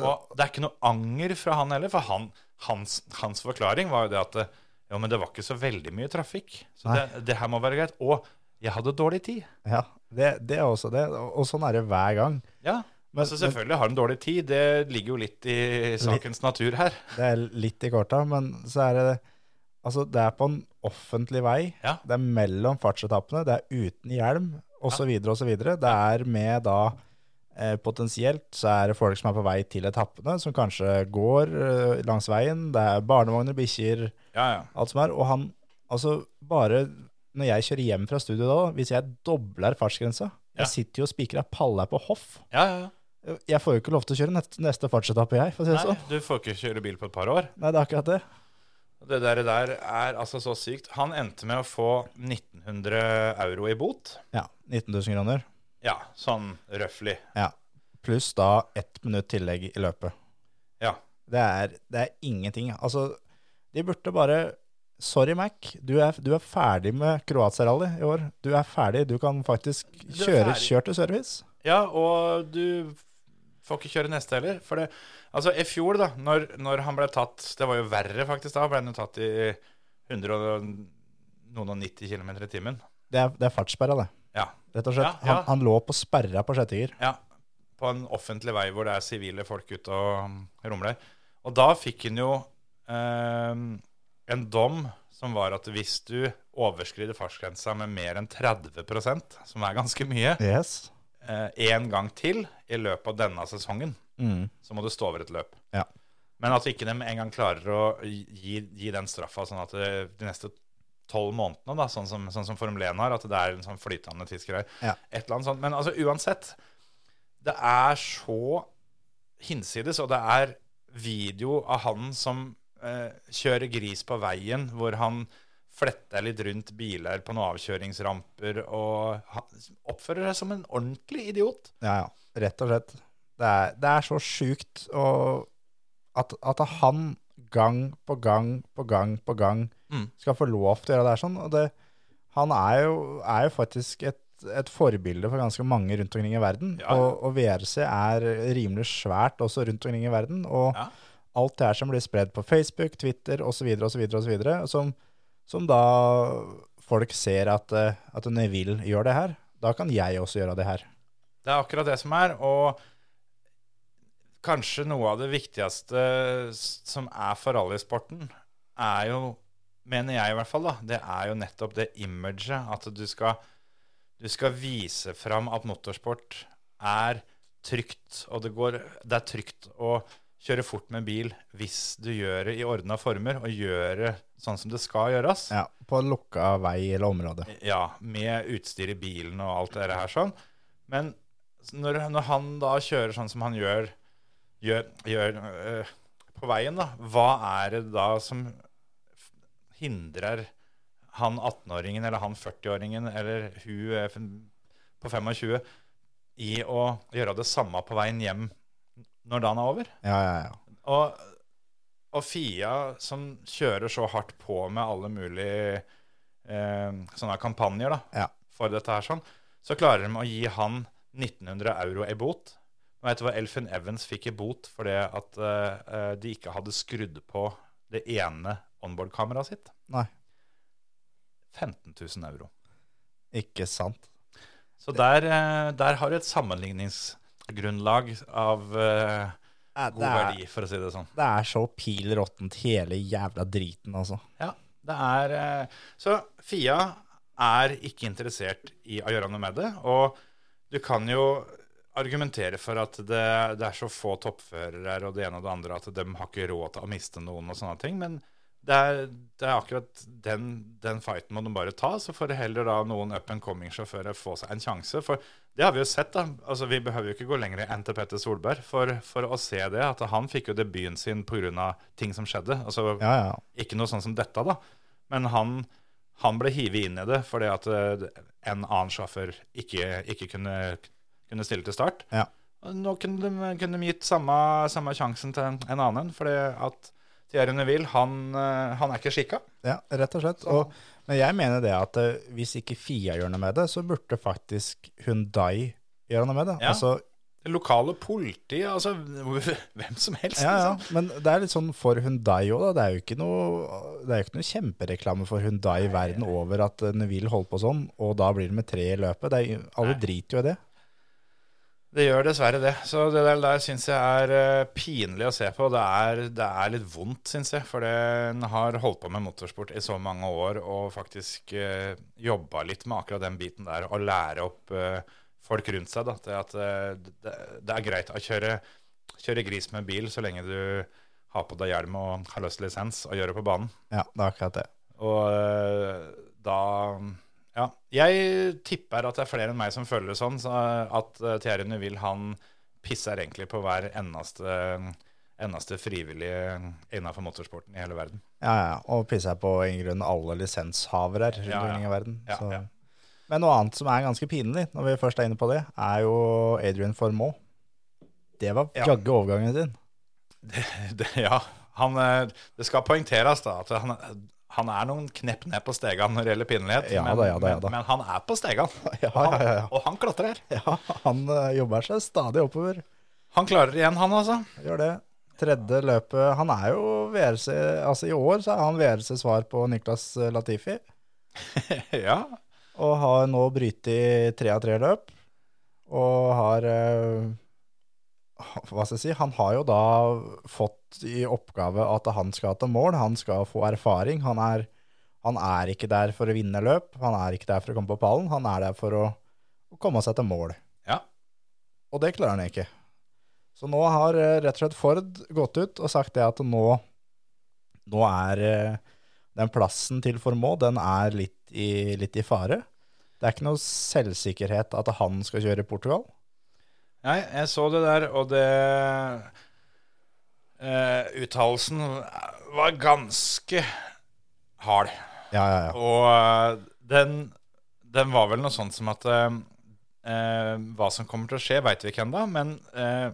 Speaker 2: Og det er ikke noe anger fra han heller, for han, hans, hans forklaring var jo det at eh, jo, men det var ikke så veldig mye trafikk. Så det, det her må være greit. Og jeg hadde dårlig tid.
Speaker 3: ja det, det er også det Og og sånn er det hver gang
Speaker 2: Ja,
Speaker 3: Men-
Speaker 2: altså selvfølgelig har han dårlig tid. Det ligger jo litt i sakens natur her.
Speaker 3: Det er litt i korta Men så er det Altså det er på en offentlig vei
Speaker 2: Ja.
Speaker 3: Det er mellom fartsetappene Det er uten hjelm Og så videre og så videre Det er med da eh, Potensielt så er det folk som er på vei til etappene Som kanskje går eh, langs veien Det er barnevogner, bikkjer
Speaker 2: Ja, ja.
Speaker 3: alt som er. Og han, altså bare når jeg kjører hjem fra studio da, hvis jeg dobler fartsgrensa
Speaker 2: Ja.
Speaker 3: Jeg sitter jo og spikrer ei palle på hoff.
Speaker 2: ja, ja, ja.
Speaker 3: Jeg får jo ikke lov til å kjøre neste, neste fartsetappe, jeg. for å si det
Speaker 2: Nei,
Speaker 3: sånn.
Speaker 2: du får ikke kjøre bil på et par år.
Speaker 3: Nei, det er akkurat det.
Speaker 2: Det der, der er altså så sykt. Han endte med å få 1900 euro i bot.
Speaker 3: Ja, 19 000 kroner.
Speaker 2: Ja, sånn røffelig.
Speaker 3: Ja. Pluss da ett minutt tillegg i løpet.
Speaker 2: Ja.
Speaker 3: Det er, det er ingenting. Altså, de burde bare Sorry, Mac. Du er, du er ferdig med Kroatia-rally i år. Du er ferdig. Du kan faktisk
Speaker 2: er
Speaker 3: kjøre
Speaker 2: ferdig.
Speaker 3: kjør til service.
Speaker 2: Ja, og du får ikke kjøre neste heller. For det, altså i fjor, da, når, når han ble tatt Det var jo verre, faktisk, da. Ble han jo tatt i 190 km i timen.
Speaker 3: Det er, det er fartssperra, det.
Speaker 2: Ja.
Speaker 3: Rett og
Speaker 2: Ja,
Speaker 3: slett.
Speaker 2: ja.
Speaker 3: Han, han lå på sperra på sjette gir.
Speaker 2: Ja, på en offentlig vei hvor det er sivile folk ute og um, rumler. Og da fikk han jo eh, en dom som var at hvis du overskrider fartsgrensa med mer enn 30 som er ganske mye,
Speaker 3: Yes.
Speaker 2: eh, en gang til i løpet av denne sesongen,
Speaker 3: Mm.
Speaker 2: så må du stå over et løp.
Speaker 3: Ja.
Speaker 2: Men at ikke de engang klarer å gi, gi den straffa sånn at eh, de neste tolv månedene, da, sånn, som, sånn som Formel 1 har, at det er en sånn flytende tidsgreie.
Speaker 3: Ja.
Speaker 2: Et eller annet sånt. Men altså, uansett, det er så hinsides, og det er video av han som eh, kjører gris på veien, hvor han fletter litt rundt biler på noen avkjøringsramper, og han oppfører seg som en ordentlig idiot.
Speaker 3: Ja, ja. Rett og slett. Det er, det er så sjukt å- at, at han gang på gang på gang på gang
Speaker 2: Mm.
Speaker 3: skal få lov til å gjøre det her sånn. Og det, han er jo, er jo faktisk et, et forbilde for ganske mange rundt omkring i verden.
Speaker 2: Ja, ja.
Speaker 3: Og, og VRC er rimelig svært også rundt omkring i verden. Og
Speaker 2: Ja.
Speaker 3: alt det her som blir spredd på Facebook, Twitter osv., osv., osv., som, som da folk ser at, eh, at Neville gjør det her, da kan jeg også gjøre det her.
Speaker 2: Det er akkurat det som er, og kanskje noe av det viktigste s- som er for rallysporten, er jo, mener jeg i hvert fall, da, det er jo nettopp det imaget. At du skal, du skal vise fram at motorsport er trygt, og det, går, det er trygt å kjøre fort med bil hvis du gjør det i ordna former, og gjør det sånn som det skal gjøres.
Speaker 3: Ja, på lukka vei eller område.
Speaker 2: Ja, med utstyr i bilen og alt det her sånn. Men s- når, når han da kjører sånn som han gjør, gjør, gjør øh, på veien, da, hva er det da som f- hindrer han 18-åringen eller han 40-åringen eller hun eh, fem- på 25 i å gjøre det samme på veien hjem når dagen er over?
Speaker 3: Ja, ja, ja.
Speaker 2: Og, og Fia, som kjører så hardt på med alle mulige eh, sånne kampanjer da,
Speaker 3: Ja.
Speaker 2: for dette her, sånn, så klarer de å gi han 1900 euro i bot. Og vet du hva Elfin Evans fikk i bot fordi at eh, de ikke hadde skrudd på det ene onboard-kameraet sitt?
Speaker 3: Nei,
Speaker 2: 15 000 euro.
Speaker 3: ikke sant.
Speaker 2: Så der, eh, der har du et sammenligningsgrunnlag av eh,
Speaker 3: Ja,
Speaker 2: god
Speaker 3: Det er,
Speaker 2: verdi, for å si det sånn.
Speaker 3: det er så pil råttent, hele jævla driten, altså.
Speaker 2: Ja, det er eh, Så Fia er ikke interessert i å gjøre noe med det. Og du kan jo argumentere for at det, det er så få toppførere og det ene og det andre at de har ikke råd til å miste noen og sånne ting. Men det er, det er akkurat den, den fighten må de bare ta. Så får det heller da noen up and coming-sjåfører få seg en sjanse. For det har vi jo sett, da. Altså, vi behøver jo ikke gå lenger enn til Petter Solberg for, for å se det. At han fikk jo debuten sin pga. ting som skjedde. Altså
Speaker 3: Ja, ja.
Speaker 2: ikke noe sånn som dette, da. Men han, han ble hivet inn i det fordi at eh, en annen sjåfør ikke, ikke kunne, kunne stille til start.
Speaker 3: Ja.
Speaker 2: Og Nå kunne de, kunne de gitt samme, samme sjansen til en, en annen, fordi at Thierry Neville, han, eh, han er ikke skikka.
Speaker 3: Ja, rett og slett. Og, men jeg mener det at eh, hvis ikke Fia gjør noe med det, så burde faktisk Hyundai gjøre noe med det.
Speaker 2: Ja.
Speaker 3: Altså,
Speaker 2: Det lokale politiet, altså (laughs) hvem som helst.
Speaker 3: ja, ja.
Speaker 2: liksom.
Speaker 3: Men det er litt sånn for Hyundai òg, da. Det er jo ikke noe, det er jo ikke noe kjempereklame for Hyundai verden over at eh, Neville holder på sånn, og da blir det med tre i løpet. Det er, alle driter jo i det.
Speaker 2: Det gjør dessverre det. Så det der, der syns jeg er eh, pinlig å se på. Det er, det er litt vondt, syns jeg. For det- en har holdt på med motorsport i så mange år og faktisk uh, jobba litt med akkurat den biten der. Å lære opp eh, folk rundt seg da, til at eh, det, det er greit å kjøre, kjøre gris med bil så lenge du har på deg hjelm og har løst lisens og gjør det på banen.
Speaker 3: Ja, det er akkurat det.
Speaker 2: Og øh, da Ja. Jeg tipper at det er flere enn meg som føler det sånn, så at øh, Thierry Neville han pisser egentlig på hver eneste, eneste frivillige innenfor motorsporten i hele verden. (laughs)
Speaker 3: Ja, ja. Og pisser jeg på i grunn alle lisenshavere rundt
Speaker 2: Ja, ja.
Speaker 3: omkring i verden.
Speaker 2: Ja,
Speaker 3: så.
Speaker 2: ja.
Speaker 3: Men noe annet som er ganske pinlig, når vi først er inne på det, er jo Adrian Formoe. Det var
Speaker 2: Ja.
Speaker 3: jaggu overgangen
Speaker 2: (laughs)
Speaker 3: sin.
Speaker 2: Det, ja, han, øh, det skal poengteres da at han, han er noen knepp ned på stegene når det gjelder pinlighet,
Speaker 3: Ja
Speaker 2: men,
Speaker 3: da, ja da, ja da.
Speaker 2: men, men han er på stegene.
Speaker 3: Ja, ja, ja, ja.
Speaker 2: Og han klatrer.
Speaker 3: Ja, han eh, jobber seg stadig oppover.
Speaker 2: Han klarer igjen, han
Speaker 3: (laughs)
Speaker 2: altså.
Speaker 3: Gjør det. Tredje løpet Han er jo VRC Altså, i år så er han VRC svar på Niklas eh, Latifi.
Speaker 2: ja.
Speaker 3: Og har nå brytet i tre av tre løp. Og har eh, Hva skal jeg si? Han har jo da fått i oppgave at han skal til mål, han skal få erfaring. Han er, han er ikke der for å vinne løp, han er ikke der for å komme på pallen, han er der for å, å komme seg til mål.
Speaker 2: Ja.
Speaker 3: Og det klarer han ikke. Så nå har eh, rett og slett Ford gått ut og sagt det at nå, nå er eh, den plassen til Formoe, den er litt i, litt i fare. Det er ikke noe selvsikkerhet at han skal kjøre i Portugal.
Speaker 2: Nei, jeg så det der, og det eh, Uttalelsen var ganske hard.
Speaker 3: Ja, ja, ja.
Speaker 2: Og eh, den, den var vel noe sånt som at eh, eh, Hva som kommer til å skje, veit vi ikke ennå, men eh,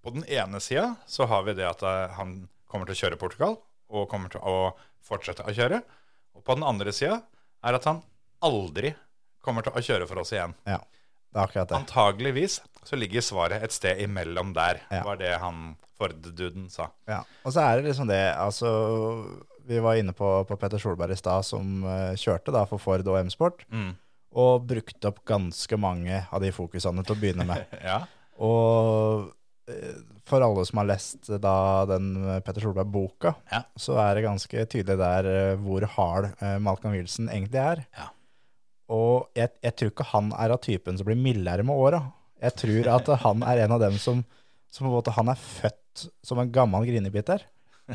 Speaker 2: på den ene sida så har vi det at eh, han kommer til å kjøre Portugal, og kommer til å fortsette å kjøre. Og på den andre sida er at han aldri kommer til å kjøre for oss igjen.
Speaker 3: ja. Det er akkurat det.
Speaker 2: Antageligvis så ligger svaret et sted imellom der,
Speaker 3: Ja.
Speaker 2: var det han Ford-duden sa.
Speaker 3: Ja. Og så er det liksom det, altså Vi var inne på, på Petter Solberg i stad, som eh, kjørte da for Ford og M-Sport,
Speaker 2: Mm. (laughs)
Speaker 3: og brukte opp ganske mange av de fokusene til å begynne med.
Speaker 2: Ja.
Speaker 3: Og eh, for alle som har lest eh, da den eh, Petter Solberg-boka,
Speaker 2: Ja.
Speaker 3: så er det ganske tydelig der eh, hvor hard eh, Malcolm Wilson egentlig er.
Speaker 2: Ja.
Speaker 3: Og jeg, jeg tror ikke han er av typen som blir mildere med åra. Jeg tror at han er en av dem som, som på en måte, han er født som en gammel grinebiter,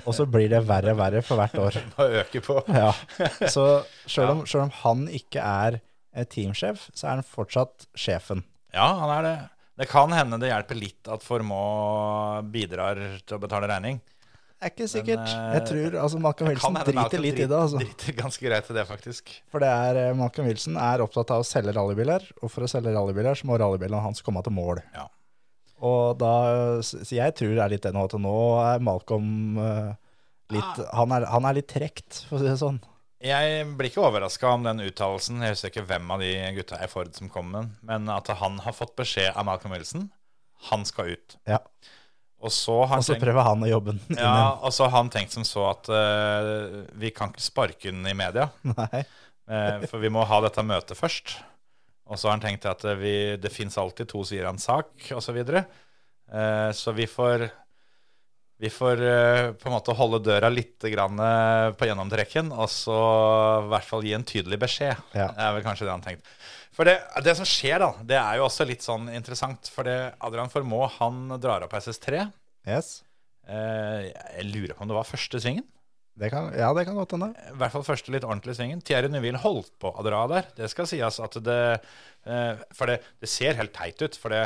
Speaker 3: og så blir det verre og verre for hvert år.
Speaker 2: Bare øke på.
Speaker 3: Ja. Så sjøl om, selv om han ikke er eh, teamsjef, så er han fortsatt sjefen.
Speaker 2: Ja, han er det. Det kan hende det hjelper litt at Formå bidrar til å betale regning.
Speaker 3: Det er ikke sikkert.
Speaker 2: eh,
Speaker 3: jeg tror altså, Malcolm
Speaker 2: Det kan
Speaker 3: Wilson
Speaker 2: hende
Speaker 3: driter
Speaker 2: Malcolm
Speaker 3: litt i
Speaker 2: drit-
Speaker 3: det. Altså.
Speaker 2: Driter ganske greit i det, faktisk.
Speaker 3: For det er, eh, Malcolm Wilson er opptatt av å selge rallybiler, og for å selge rallybiler så må rallybilene hans komme til mål.
Speaker 2: Ja.
Speaker 3: Og da, så så jeg tror det er litt den at nå er Malcolm eh, litt
Speaker 2: Ah.
Speaker 3: han, er, han er litt trekt, for å si det sånn.
Speaker 2: Jeg blir ikke overraska om den uttalelsen. Jeg husker ikke hvem av de gutta i Ford som kom med den. Men at han har fått beskjed av Malcolm Wilson. Han skal ut.
Speaker 3: Ja.
Speaker 2: Og så har
Speaker 3: Og
Speaker 2: han
Speaker 3: så
Speaker 2: tenkt,
Speaker 3: prøver han å jobbe den inn
Speaker 2: ja, og så har han tenkt som så at eh, vi kan ikke sparke den i media.
Speaker 3: igjen. (laughs) Nei.
Speaker 2: Eh, For vi må ha dette møtet først. Og så har han tenkt at eh, vi, det fins alltid to sider av en sak, osv. Så, videre. Eh, så vi får vi får eh, på en måte holde døra litt grann eh, på gjennomtrekken, og så i hvert fall gi en tydelig beskjed.
Speaker 3: Ja.
Speaker 2: Det er vel kanskje det han tenkte. For det, det som skjer, da, det er jo også litt sånn interessant. For det, Adrian Formå han drar opp SS3.
Speaker 3: Yes.
Speaker 2: Eh, jeg lurer på om det var første svingen.
Speaker 3: Det kan, ja, det kan godt hende.
Speaker 2: I hvert fall første litt ordentlige svingen. Thierry Neuville holdt på å dra der. Det skal sies at det eh, For det, det ser helt teit ut. For det,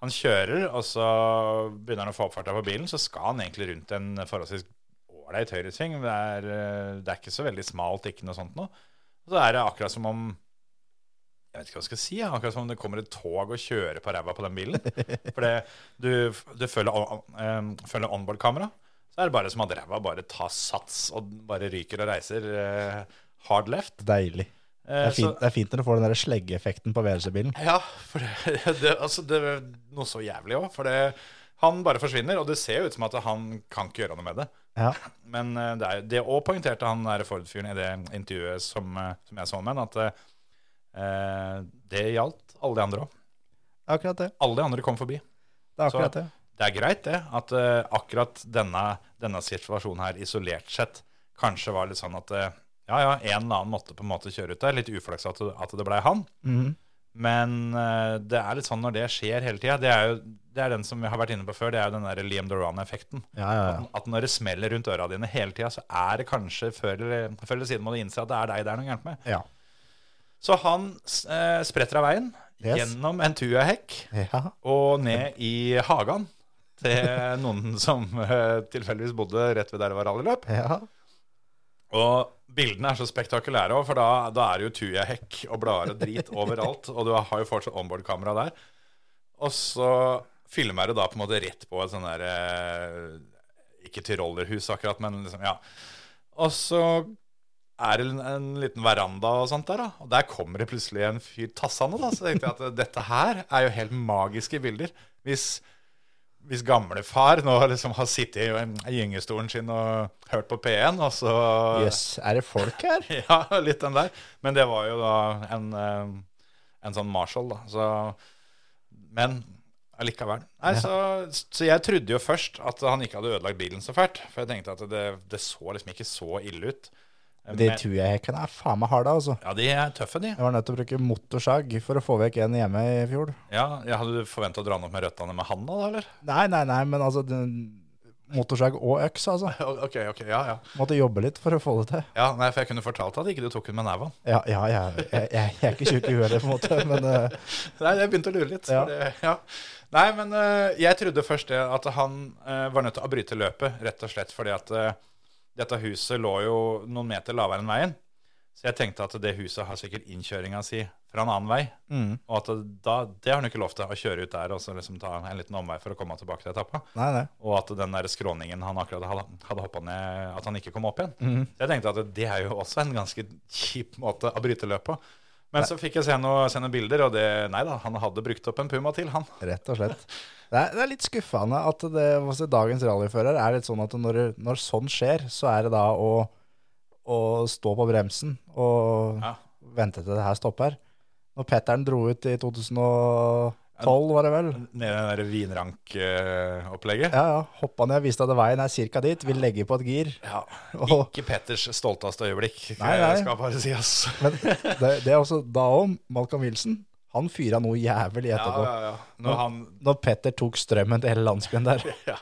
Speaker 2: han kjører, og så begynner han å få opp farta på bilen. Så skal han egentlig rundt en forholdsvis ålreit høyresving. Det, er, eh, det er ikke så veldig smalt, ikke noe sånt noe. Og så er det akkurat som om jeg vet ikke hva jeg skal si, ja. akkurat som om det kommer et tog og kjører på ræva på den bilen. For det, du, du følger, on- eh, følger onboard-kamera, så er det bare som at ræva bare tar sats og bare ryker og reiser eh, hard left.
Speaker 3: Deilig. Det
Speaker 2: Eh,
Speaker 3: er fint, det er fint når du får den der sleggeeffekten på VRC-bilen.
Speaker 2: Så, ja, for det, (laughs) det, altså det er noe så jævlig òg. For det, han bare forsvinner, og det ser jo ut som at han kan ikke gjøre noe med det.
Speaker 3: Ja.
Speaker 2: Men eh, det, er, det også poengterte han der Ford-fyren i det intervjuet som, eh, som jeg så med han, at eh, det gjaldt alle de andre òg.
Speaker 3: Akkurat det.
Speaker 2: Alle de andre kom forbi.
Speaker 3: Det er
Speaker 2: Så-
Speaker 3: akkurat det.
Speaker 2: Det er greit det, at eh, akkurat denne, denne situasjonen her isolert sett kanskje var litt sånn at eh, ja, ja, en eller annen måtte på en måte kjøre ut der. Litt uflaks at, det- at det blei han.
Speaker 3: Mhm.
Speaker 2: Men eh, det er litt sånn når det skjer hele tida. Det er jo det er den som vi har vært inne på før, det er jo den der Liam Doran-effekten.
Speaker 3: Ja, ja, ja.
Speaker 2: At, at når det smeller rundt øra dine hele tida, så er det kanskje før eller, før eller siden må du innse at det er deg det er noe gærent med.
Speaker 3: Ja.
Speaker 2: Så han eh, spretter av veien
Speaker 3: Yes.
Speaker 2: gjennom en tuahekk
Speaker 3: ja.
Speaker 2: og ned i hagen til noen som eh, tilfeldigvis bodde rett ved der det var rallyløp.
Speaker 3: (laughs) ja.
Speaker 2: Og bildene er så spektakulære òg, for da, da er det jo tujahekk og blader og drit overalt. Og du har jo fortsatt onboard-kamera der. Og så filmer du da på en måte rett på et sånn der eh, Ikke tyrollerhus akkurat, men liksom, ja. Og så er det en, en liten veranda og sånt der, da. Og der kommer det plutselig en fyr tassende, da. Så tenkte jeg at eh, dette her er jo helt magiske bilder. Hvis hvis gamle far nå liksom har sittet i i gyngestolen sin og hørt på P1, og så
Speaker 3: Jøss, er det folk her?
Speaker 2: (laughs) Ja, litt den der. Men det var jo da en, eh, en sånn Marshall, da. Så, men allikevel. Nei, så, så jeg trodde jo først at han ikke hadde ødelagt bilen så fælt. For jeg tenkte at det, det så liksom ikke så ille ut.
Speaker 3: De
Speaker 2: Men,
Speaker 3: tujahekkene er faen meg harde, altså.
Speaker 2: ja, de er tøffe, de.
Speaker 3: Jeg var nødt til å bruke motorsag for å få vekk en hjemme i fjor.
Speaker 2: Ja, jeg Hadde du forventa å dra den opp med røttene med handa, da, eller?
Speaker 3: Nei, nei, nei, men altså den- Motorsag og øks, altså.
Speaker 2: Ok, ok, ja, ja.
Speaker 3: Måtte jobbe litt for å få det til.
Speaker 2: Ja, nei, For jeg kunne fortalt at ikke du tok den med nevene.
Speaker 3: Ja, ja, jeg, jeg, jeg, jeg er ikke tjukk i huet, på en måte, men eh,
Speaker 2: Nei, jeg begynte å lure litt.
Speaker 3: Ja.
Speaker 2: For det, ja. Nei, men eh, jeg trodde først det at han eh, var nødt til å bryte løpet, rett og slett fordi at eh, dette huset lå jo noen meter lavere enn veien. Så jeg tenkte at det huset har sikkert innkjøringa si fra en annen vei.
Speaker 3: mm.
Speaker 2: Og at det- da, det har han ikke lov til, å kjøre ut der og så liksom ta en liten omvei for å komme tilbake til etappa.
Speaker 3: Nei, nei.
Speaker 2: Og at den der skråningen han akkurat hadde, hadde hoppa ned, at han ikke kom opp igjen.
Speaker 3: Mhm.
Speaker 2: Så jeg tenkte at det er jo også en ganske kjip måte å bryte løpet på. Men så fikk jeg se, noe, se noen bilder, og det, nei da, han hadde brukt opp en puma til, han.
Speaker 3: Rett og slett. Det er, det er litt skuffende at det, altså, dagens rallyfører er litt sånn at når, når sånn skjer, så er det da å, å stå på bremsen og
Speaker 2: Ja.
Speaker 3: vente til det her stopper. Når Petteren dro ut i 2000 og Tolv var det vel?
Speaker 2: Nede i det der vinrank-opplegget.
Speaker 3: Ja, ja. Hoppa ned, viste deg veien er cirka dit, vil legge på et gir.
Speaker 2: Ja.
Speaker 3: Og-
Speaker 2: Ikke Petters stolteste øyeblikk,
Speaker 3: Nei, nei.
Speaker 2: skal bare si. ass.
Speaker 3: Men det, det er også da om Malcolm Wilson. Han fyra noe jævlig
Speaker 2: Ja,
Speaker 3: etterpå.
Speaker 2: ja, ja. Når han,
Speaker 3: Når Petter tok strømmen til hele
Speaker 2: (laughs)
Speaker 3: landsbyen der.
Speaker 2: ja.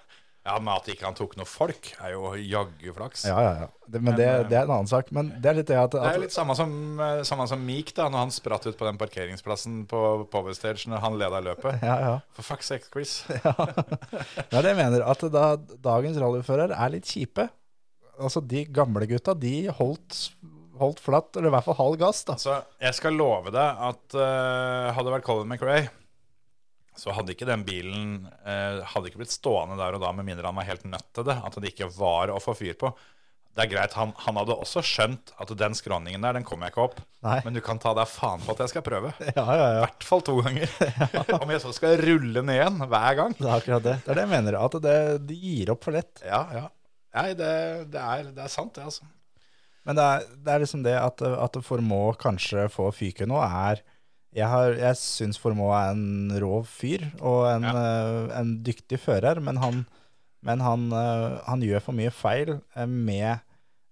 Speaker 2: ja, Men at ikke han tok noe folk, er jo jaggu flaks.
Speaker 3: Ja, ja, ja. Det, men det, det er en annen sak. Men det er litt det at,
Speaker 2: eh, Det er
Speaker 3: at
Speaker 2: litt samme som, eh, samme som Meek, da, når han spratt ut på den parkeringsplassen på Power Stage når han leda løpet.
Speaker 3: ja, ja.
Speaker 2: For fuck's sake, Chris.
Speaker 3: Det er det jeg mener. At da, dagens rallyfører er litt kjipe. Altså, de gamle gutta, de holdt, holdt flatt, eller i hvert fall halv gass, da.
Speaker 2: Altså, jeg skal love deg at eh, hadde det vært Colin McRae, så hadde ikke den bilen eh, hadde ikke blitt stående der og da, med mindre han var helt nødt til det. At det ikke var å få fyr på. Det er greit, han, han hadde også skjønt at den skråningen der, den kommer jeg ikke opp.
Speaker 3: Nei.
Speaker 2: Men du kan ta deg faen på at jeg skal prøve. I
Speaker 3: Ja, ja, ja.
Speaker 2: hvert fall to ganger. Om jeg så skal rulle ned igjen hver gang.
Speaker 3: Det er akkurat det. Det er det jeg mener. At det, de gir opp for lett.
Speaker 2: Ja, ja. Nei, det, det, er, det er sant, det, altså.
Speaker 3: Men det er, det er liksom det at, at Formå kanskje får fyke nå, er Jeg, har- jeg syns Formå er en rå fyr og en, eh, en dyktig fører, men han, men han, eh, han gjør for mye feil eh, med,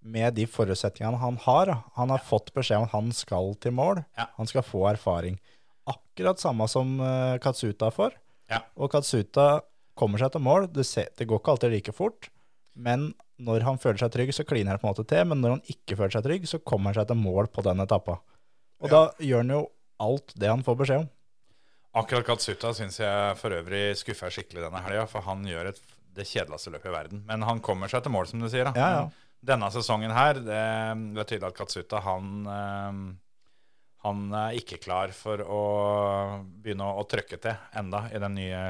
Speaker 3: med de forutsetningene han har. da. Han har fått beskjed om at han skal til mål,
Speaker 2: Ja.
Speaker 3: han skal få erfaring. Akkurat samme som eh, Katsuta får.
Speaker 2: Ja.
Speaker 3: Og Katsuta kommer seg til mål. Du ser, det går ikke alltid like fort, men når han føler seg trygg, så kliner han på en måte til. Men når han ikke føler seg trygg, så kommer han seg til mål på den etappa. Og da gjør han jo alt det han får beskjed om.
Speaker 2: Akkurat Katsuta syns jeg for øvrig skuffer skikkelig denne helga, for han gjør et, det kjedeligste løpet i verden. Men han kommer seg til mål, som du sier. Da.
Speaker 3: Ja, ja.
Speaker 2: Men Denne sesongen her, det, det er tydelig at Katsuta han, eh, han er ikke klar for å begynne å, å trøkke til enda i den nye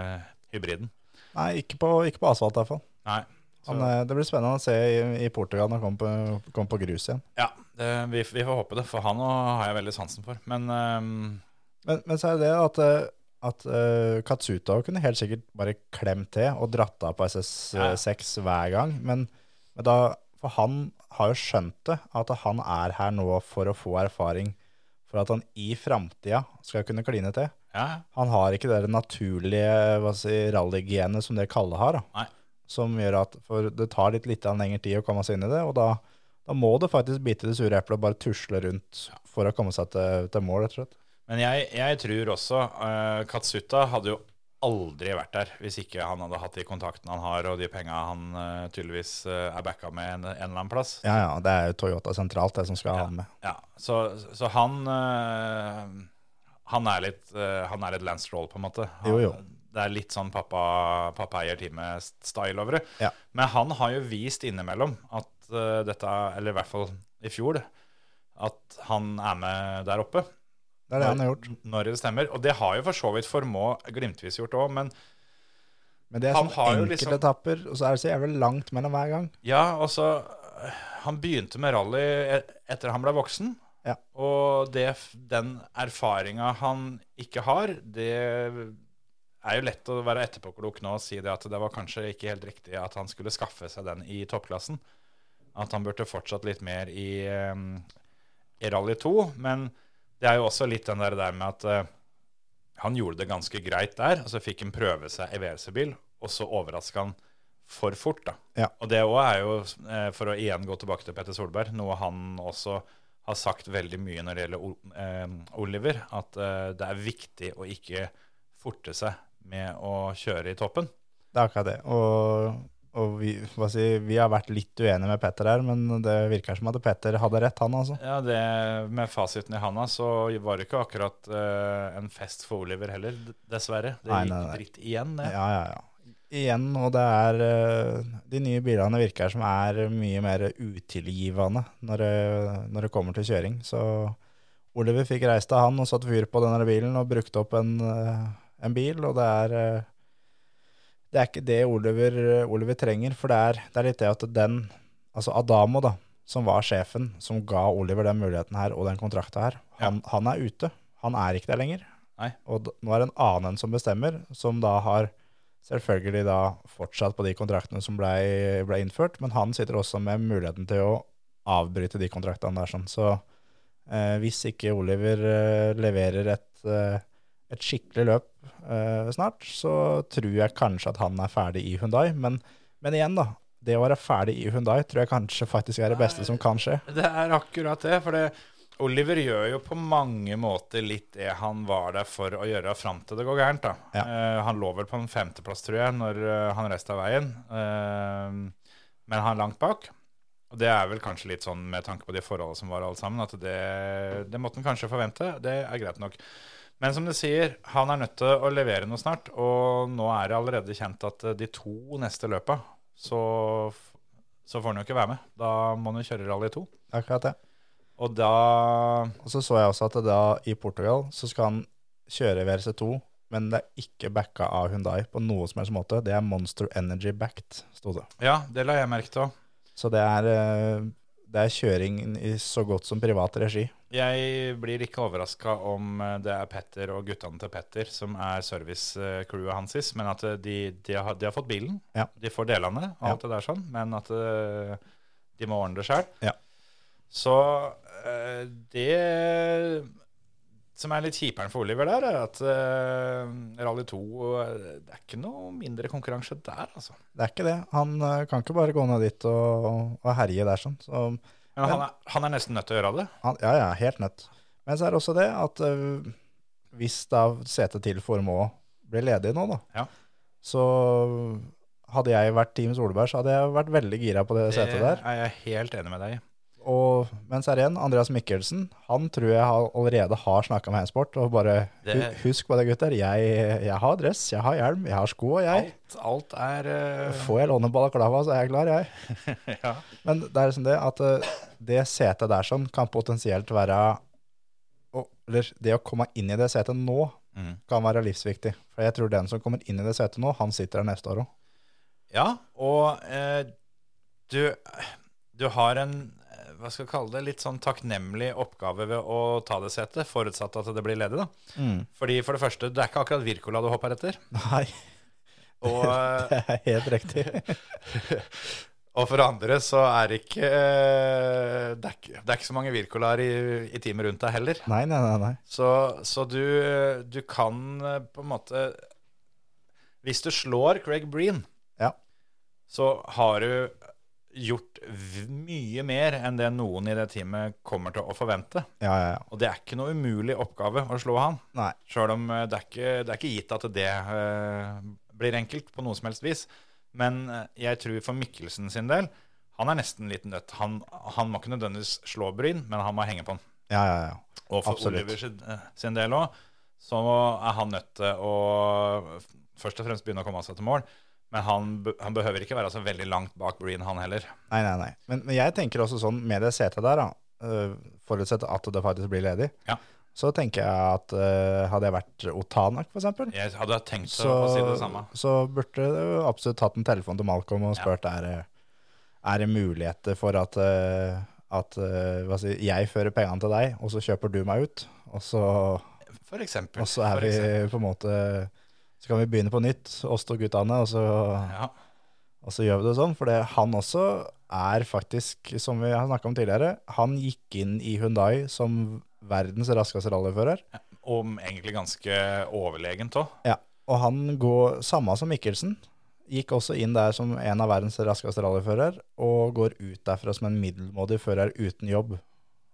Speaker 2: hybriden.
Speaker 3: Nei, ikke på, ikke på asfalt i hvert fall.
Speaker 2: Nei. Så,
Speaker 3: Han, eh, det blir spennende å se i, i Portugal når han kommer på, kommer på grus igjen.
Speaker 2: ja, det, vi, vi får håpe det, for han også har jeg veldig sansen for. Men eh,
Speaker 3: Men, men så er det at, eh, at eh, Katsuta kunne helt sikkert bare klemt til og dratt av på SS6 hver gang. Men, men da, for han har jo skjønt det, at han er her nå for å få erfaring. For at han i framtida skal kunne kline til.
Speaker 2: ja,
Speaker 3: Han har ikke det der naturlige hva skal jeg si, rallygenet som det Kalle har. Da.
Speaker 2: Nei.
Speaker 3: Som gjør at for det tar litt, litt lengre tid å komme seg inn i det, og da, da må det faktisk bite det sure eplet og bare tusle rundt for å komme seg til, til mål, rett og slett.
Speaker 2: Men jeg, jeg tror også eh, Katsuta hadde jo aldri vært der hvis ikke han hadde hatt de kontaktene han har, og de penga han eh, tydeligvis eh, er backa med en, en eller annen plass.
Speaker 3: Ja, ja, det er jo Toyota sentralt, det som skal ha han med.
Speaker 2: Ja, så, så han eh, han, er litt, eh, han er litt Lance Stroll, på en måte. Han,
Speaker 3: Jo, jo.
Speaker 2: Det er litt sånn pappa, pappa eier teamet-style over det.
Speaker 3: Ja.
Speaker 2: Men han har jo vist innimellom at eh, dette, eller i hvert fall i fjor, at han er med der oppe.
Speaker 3: Det er det han har gjort.
Speaker 2: Når det stemmer. Og det har jo for så vidt Formå glimtvis gjort òg, men
Speaker 3: Men det er
Speaker 2: Han
Speaker 3: sånn
Speaker 2: har jo
Speaker 3: enkelte
Speaker 2: liksom-
Speaker 3: etapper, og så er det så jævlig langt mellom hver gang.
Speaker 2: ja, altså øh, Han begynte med rally e- etter han ble voksen.
Speaker 3: Ja.
Speaker 2: Og det, f- den erfaringa han ikke har, det er jo lett å være etterpåklok nå og si det at det var kanskje ikke helt riktig at han skulle skaffe seg den i toppklassen. At han burde fortsatt litt mer i, eh, i rally 2. Men det er jo også litt den der, der med at eh, han gjorde det ganske greit der, og så fikk han prøve seg i WRC-bil, og så overraska han for fort, da.
Speaker 3: Ja.
Speaker 2: Og det òg er jo, eh, for å igjen gå tilbake til Petter Solberg, noe han også har sagt veldig mye når det gjelder Ol- eh, Oliver, at eh, det er viktig å ikke forte seg med å kjøre i toppen.
Speaker 3: Det er akkurat det. Og, og vi, hva si, vi har vært litt uenige med Petter her, men det virker som at Petter hadde rett, han altså.
Speaker 2: Ja, det, Med fasiten i handa så var det ikke akkurat eh, en fest for Oliver heller, d- dessverre. Det
Speaker 3: Nei,
Speaker 2: gikk
Speaker 3: nei, nei.
Speaker 2: dritt igjen. det.
Speaker 3: Ja, ja, ja. Igjen, og det er eh, De nye bilene virker som er mye mer utilgivende når det, når det kommer til kjøring. Så Oliver fikk reist av han og satt fyr på denne bilen og brukte opp en, eh, en bil, og det er eh, Det er ikke det Oliver, Oliver trenger, for det er, det er litt det at den Altså Adamo, da, som var sjefen, som ga Oliver den muligheten her og den kontrakta her, han, han er ute. Han er ikke der lenger.
Speaker 2: Nei.
Speaker 3: Og d- nå er det en annen som bestemmer, som da har selvfølgelig da fortsatt på de kontraktene som ble, ble innført, men han sitter også med muligheten til å avbryte de kontraktene der. Sånn. Så eh, hvis ikke Oliver eh, leverer et, eh, et skikkelig løp eh, snart, så tror jeg kanskje at han er ferdig i Hyundai. Men, men igjen, da. Det å være ferdig i Hyundai tror jeg kanskje faktisk er det beste som kan skje.
Speaker 2: Det er akkurat det. For det, Oliver gjør jo på mange måter litt det han var der for å gjøre fram til det går gærent. da.
Speaker 3: Ja.
Speaker 2: Eh, han lå vel på en femteplass, tror jeg, når eh, han reiste av veien. Eh, men han er langt bak. Og det er vel kanskje litt sånn med tanke på de forholdene som var, alle sammen, at det, det måtte han kanskje forvente. Det er greit nok. Men som du sier, han er nødt til å levere noe snart. Og nå er det allerede kjent at eh, de to neste løpa, så, f- så får han jo ikke være med. Da må han jo kjøre rally 2.
Speaker 3: Akkurat det.
Speaker 2: Og da
Speaker 3: Og så så jeg også at det da i Portugal så skal han kjøre VRC2, men det er ikke backa av Hyundai på noe som helst måte. Det er Monster Energy backed, sto det.
Speaker 2: Ja, det la jeg merke til òg.
Speaker 3: Så det er, eh, det er kjøring i så godt som privat regi.
Speaker 2: Jeg blir ikke overraska om eh, det er Petter og guttene til Petter som er servicecrewet hans, is, men at eh, de, de, har, de har fått bilen.
Speaker 3: Ja.
Speaker 2: De får delene og
Speaker 3: Ja.
Speaker 2: alt det der sånn, men at eh, de må ordne det sjøl.
Speaker 3: Ja.
Speaker 2: Så eh, det som er litt kjiperen for Oliver der, er at eh, Rally 2 eh, Det er ikke noe mindre konkurranse der, altså.
Speaker 3: Det er ikke det. Han eh, kan ikke bare gå ned dit og, og herje der sånn. Så
Speaker 2: Men han er, han er nesten nødt til å gjøre det.
Speaker 3: han, ja, ja, helt nødt. Men så er det også det at eh, hvis da setet til Formå blir ledig nå, da,
Speaker 2: Ja.
Speaker 3: så hadde jeg vært Team Solberg, så hadde jeg vært veldig gira på det setet der.
Speaker 2: er jeg helt enig med deg i.
Speaker 3: Og mens her igjen, Andreas Mikkelsen, han tror jeg har, allerede har snakka med Hensport. Og bare
Speaker 2: Det-
Speaker 3: hu- husk på det, gutter. Jeg, jeg har dress, jeg har hjelm, jeg har sko, og jeg.
Speaker 2: Alt, alt er eh,
Speaker 3: Får jeg låne balaklava, så er jeg klar, jeg.
Speaker 2: (laughs) ja.
Speaker 3: Men det er liksom det at eh, det setet der sånn kan potensielt være å- Eller det å komme inn i det setet nå
Speaker 2: Mm.
Speaker 3: kan være livsviktig. For jeg tror den som kommer inn i det setet nå, han sitter der neste år òg.
Speaker 2: ja, og eh, du, du har en eh, hva skal jeg kalle det, litt sånn takknemlig oppgave ved å ta det setet, forutsatt at det blir ledig. da. Fordi for det første, det er ikke akkurat Wirkola du hopper etter.
Speaker 3: (laughs) Nei, (laughs)
Speaker 2: (laughs) Og, eh,
Speaker 3: det er helt riktig.
Speaker 2: og for det andre så er det ikke eh, Det er ikke, det er ikke så mange Wirkolaer i, i teamet rundt deg heller.
Speaker 3: Nei, nei, nei. nei.
Speaker 2: Så, så du, du kan eh, på en måte Hvis du slår Craig Breen,
Speaker 3: Ja.
Speaker 2: så har du gjort v- mye mer enn det noen i det teamet kommer til å forvente.
Speaker 3: Ja, ja, ja.
Speaker 2: Og det er ikke noe umulig oppgave å slå han.
Speaker 3: Nei.
Speaker 2: Sjøl om eh, det er, ikke, det er ikke gitt at det eh, blir enkelt på noe som helst vis. Men eh, jeg tror for Mikkelsen sin del Han er nesten litt nødt. Han, han må ikke nødvendigvis slå Bryn, men han må henge på han.
Speaker 3: Ja, ja, ja.
Speaker 2: Og for
Speaker 3: Absolutt.
Speaker 2: Oliver sin, eh, sin del òg, så er han nødt til å først og fremst begynne å komme seg til mål. Men han, be- han behøver ikke være så veldig langt bak Breen, han heller.
Speaker 3: Nei, nei, nei. Men, men jeg tenker også sånn, med det setet der, da, øh, forutsett at det faktisk blir ledig,
Speaker 2: Ja.
Speaker 3: så tenker jeg at øh, hadde jeg vært Otanak, for eksempel,
Speaker 2: Jeg hadde tenkt
Speaker 3: så,
Speaker 2: å si det samme.
Speaker 3: så burde du absolutt tatt en telefon til Malcolm og spurt er, det- er det muligheter for at, øh, at øh, hva si, jeg fører pengene til deg, og så kjøper du meg ut, og så,
Speaker 2: For eksempel.
Speaker 3: og så er
Speaker 2: for
Speaker 3: vi
Speaker 2: eksempel.
Speaker 3: på en måte, så kan vi begynne på nytt, oss to guttene, og så...
Speaker 2: Ja.
Speaker 3: Og så gjør vi det sånn, for det, han også er faktisk, som vi har snakka om tidligere, han gikk inn i Hundai som verdens raskeste rallyfører.
Speaker 2: Om egentlig ganske overlegent òg.
Speaker 3: Ja. Og han går, samme som Mikkelsen, gikk også inn der som en av verdens raskeste rallyfører, og går ut derfra som en middelmådig fører uten jobb.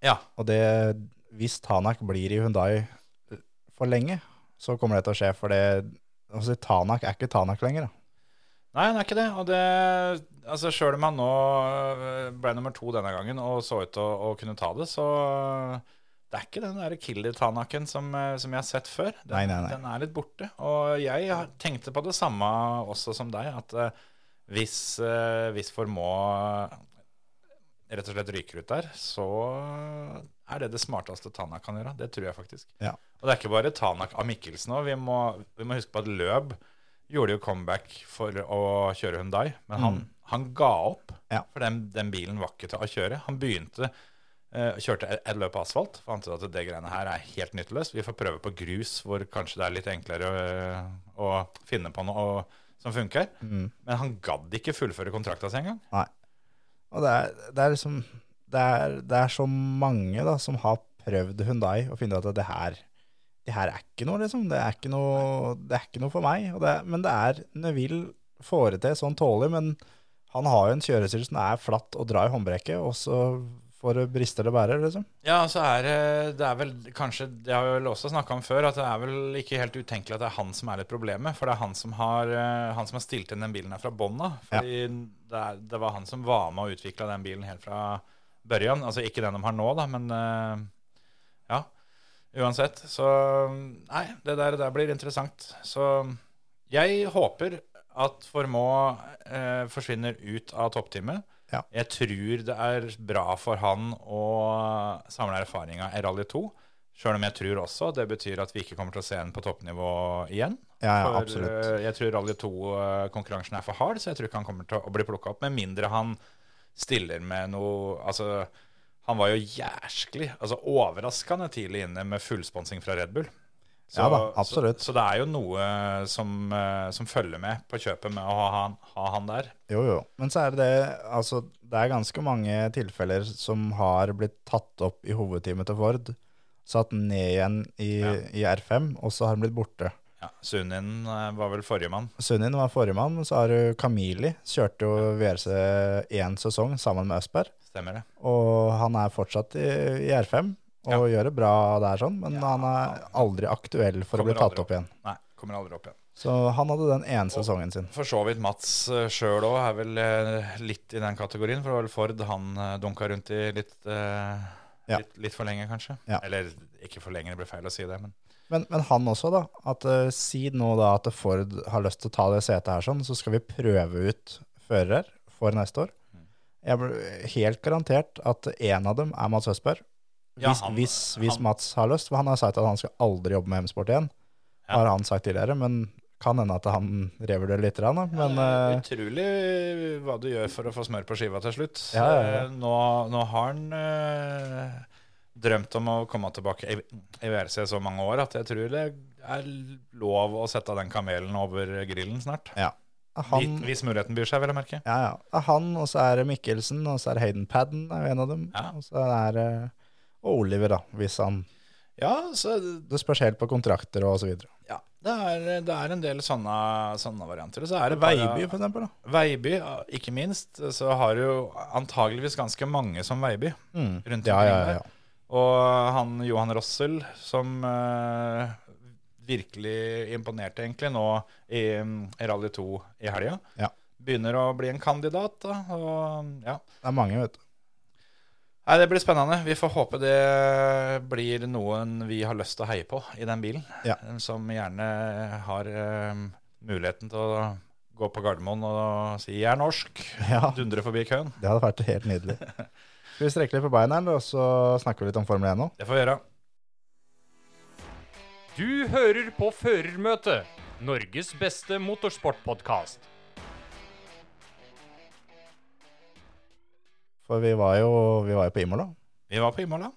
Speaker 2: Ja.
Speaker 3: Og det, hvis Tanak blir i Hundai for lenge, så kommer det til å skje, for det altså, Tanak er ikke Tanak lenger. Da.
Speaker 2: Nei, han er ikke det. Og det altså Sjøl om han nå øh, ble nummer to denne gangen og så ut til å, å kunne ta det, så det er ikke den der killer-tanaken som, øh, som jeg har sett før. Den,
Speaker 3: Nei, nei, nei.
Speaker 2: den er litt borte. Og jeg har- tenkte på det samme også som deg, at øh, hvis, uh, hvis Formå eh, rett og slett ryker ut der, så er det det smarteste Tanak kan gjøre. Det tror jeg faktisk.
Speaker 3: Ja.
Speaker 2: Og det er ikke bare Tanak av Mikkelsen òg. Vi, må- vi må huske på at Løb gjorde jo comeback for å kjøre Hyundai, men han, han ga opp.
Speaker 3: Mm. Ja.
Speaker 2: For den, den bilen var ikke til å kjøre. Han begynte eh, kjørte et- et løp asfalt. Fant ut at det greiene her er helt nytteløst. Vi får prøve på grus, hvor kanskje det er litt enklere å, å finne på noe som funker.
Speaker 3: Mm.
Speaker 2: Men han gadd ikke fullføre kontrakta si engang.
Speaker 3: Nei. Og det er, det er liksom det er, det er så mange da som har prøvd Hyundai og funnet ut at det her det her er ikke noe, liksom. Det er ikke noe, det er ikke noe for meg. Og det, men det er Neville får det til sånn tålig, men han har jo en kjørestil som er flatt og drar i håndbrekket, og så får det brister det bærer, liksom.
Speaker 2: Ja, så er det- det er vel kanskje Det har vi vel også snakka om før, at det er vel ikke helt utenkelig at det er han som er litt problemet. For det er han som har, eh, han som har stilt inn den bilen her fra bånn av. Fordi det, er, det var han som var med og utvikla den bilen helt fra børjan. Altså ikke den de har nå, da, men eh, ja. Uansett. Så nei, det der, det der blir interessant. Så jeg håper at Formå eh, forsvinner ut av toppteamet.
Speaker 3: Ja.
Speaker 2: Jeg tror det er bra for han å samle erfaringa i Rally 2. Sjøl om jeg tror også det betyr at vi ikke kommer til å se en på toppnivå igjen.
Speaker 3: Ja, ja,
Speaker 2: For,
Speaker 3: absolutt.
Speaker 2: eh, Jeg tror Rally 2-konkurransen er for hard, så jeg tror ikke han kommer til å bli plukka opp. Med mindre han stiller med noe Altså, han var jo jærsklig, altså overraskende tidlig inne med fullsponsing fra Red Bull.
Speaker 3: Ja da, absolutt.
Speaker 2: Så, så det er jo noe som, eh, som følger med på kjøpet med å ha han, ha han der.
Speaker 3: Jo, jo. Men så er det det Altså, det er ganske mange tilfeller som har blitt tatt opp i hovedteamet til Ford, satt ned igjen i, i R5, og så har han blitt borte.
Speaker 2: Ja, Sunin eh, var vel forrige mann.
Speaker 3: Sunnin var forrige mann, men så har du Kamili. Kjørte jo VRC én sesong sammen med Østberg,
Speaker 2: Stemmer det?
Speaker 3: og han er fortsatt i, i R5 og gjør det bra der, sånn, men han er aldri aktuell for å
Speaker 2: Kommer
Speaker 3: bli tatt
Speaker 2: aldri
Speaker 3: opp igjen.
Speaker 2: Nei, kommer aldri opp igjen.
Speaker 3: Så han hadde den ene sesongen sin.
Speaker 2: For så vidt Mats eh, sjøl òg er vel eh, litt i den kategorien. For det var vel Ford han eh, dunka rundt i litt, eh,
Speaker 3: Ja.
Speaker 2: litt, litt for lenge, kanskje.
Speaker 3: Ja.
Speaker 2: Eller ikke for lenge, det blir feil å si det. Men
Speaker 3: Men, men han også, da. At eh, Si nå da at Ford har lyst til å ta det setet her, sånn, så skal vi prøve ut fører for neste år.
Speaker 2: Mm.
Speaker 3: Jeg blir helt garantert at én av dem er Mats Østberg. Hvis,
Speaker 2: Ja, han-
Speaker 3: hvis, hvis
Speaker 2: han-
Speaker 3: Mats har lyst, for han har sagt at han skal aldri jobbe med M-sport igjen.
Speaker 2: Ja.
Speaker 3: Har han sagt tidligere, men kan hende at han revurderer litt. grann, Da. Men eh,
Speaker 2: utrolig hva du gjør for å få smør på skiva til slutt.
Speaker 3: Ja, ja, ja.
Speaker 2: Eh, Nå, nå har han eh, drømt om å komme tilbake i, i VRC så mange år at jeg tror det er lov å sette den kamelen over grillen snart.
Speaker 3: ja. Han,
Speaker 2: Hvis- Hvis muligheten byr seg, vil jeg merke.
Speaker 3: ja, ja. Det er han, og så er det Mikkelsen, og så er det Hayden Padden er jo en av dem.
Speaker 2: Ja.
Speaker 3: Og så er det og Oliver, da, hvis han
Speaker 2: Ja, så
Speaker 3: Det spørs helt på kontrakter og så videre.
Speaker 2: Ja, det er, det er en del sånne, sånne varianter. Og så er det bare-
Speaker 3: Veiby, for eksempel. Da.
Speaker 2: Veiby, ikke minst. Så har du jo antageligvis ganske mange som Veiby
Speaker 3: Mm.
Speaker 2: rundt omkring
Speaker 3: Ja, ja, ja,
Speaker 2: der. Og han Johan Rossel, som eh, virkelig imponerte egentlig nå i, mm, i Rally 2 i helga,
Speaker 3: Ja.
Speaker 2: begynner å bli en kandidat. da, og ja.
Speaker 3: Det er mange, vet du.
Speaker 2: Nei, Det blir spennende. Vi får håpe det blir noen vi har lyst til å heie på i den bilen. eh,
Speaker 3: Ja.
Speaker 2: Som gjerne har eh, muligheten til å gå på Gardermoen og si 'jeg er norsk'.
Speaker 3: Ja.
Speaker 2: Dundre forbi køen.
Speaker 3: Det hadde vært helt nydelig.
Speaker 2: (laughs)
Speaker 3: Skal vi strekke litt på beina, eller, og så snakker vi litt om Formel 1 nå?
Speaker 2: Det får vi gjøre.
Speaker 4: Du hører på Førermøtet, Norges beste motorsportpodkast.
Speaker 3: For vi var jo, vi var jo på Imola.
Speaker 2: Vi var på Imola.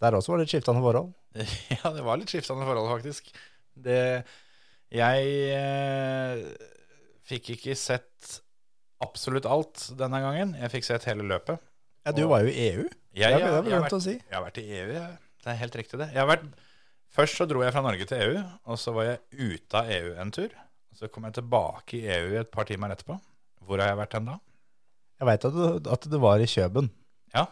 Speaker 3: Der også var det litt skiftende forhold.
Speaker 2: (laughs) Ja, det var litt skiftende forhold, faktisk. Det, jeg eh, fikk ikke sett absolutt alt denne gangen. Jeg fikk sett hele løpet.
Speaker 3: Ja, du var jo i E EU.
Speaker 2: Jeg,
Speaker 3: Det er- det er vel
Speaker 2: jeg har
Speaker 3: greit
Speaker 2: vært-
Speaker 3: å si.
Speaker 2: Jeg har vært i EU, jeg. Det er helt riktig, det. Jeg har vært, først så dro jeg fra Norge til EU, og så var jeg ute av EU en tur. Så kom jeg tilbake i EU et par timer etterpå. Hvor har jeg vært hen da?
Speaker 3: Jeg veit at, du- at du var i Kjøben,
Speaker 2: Ja.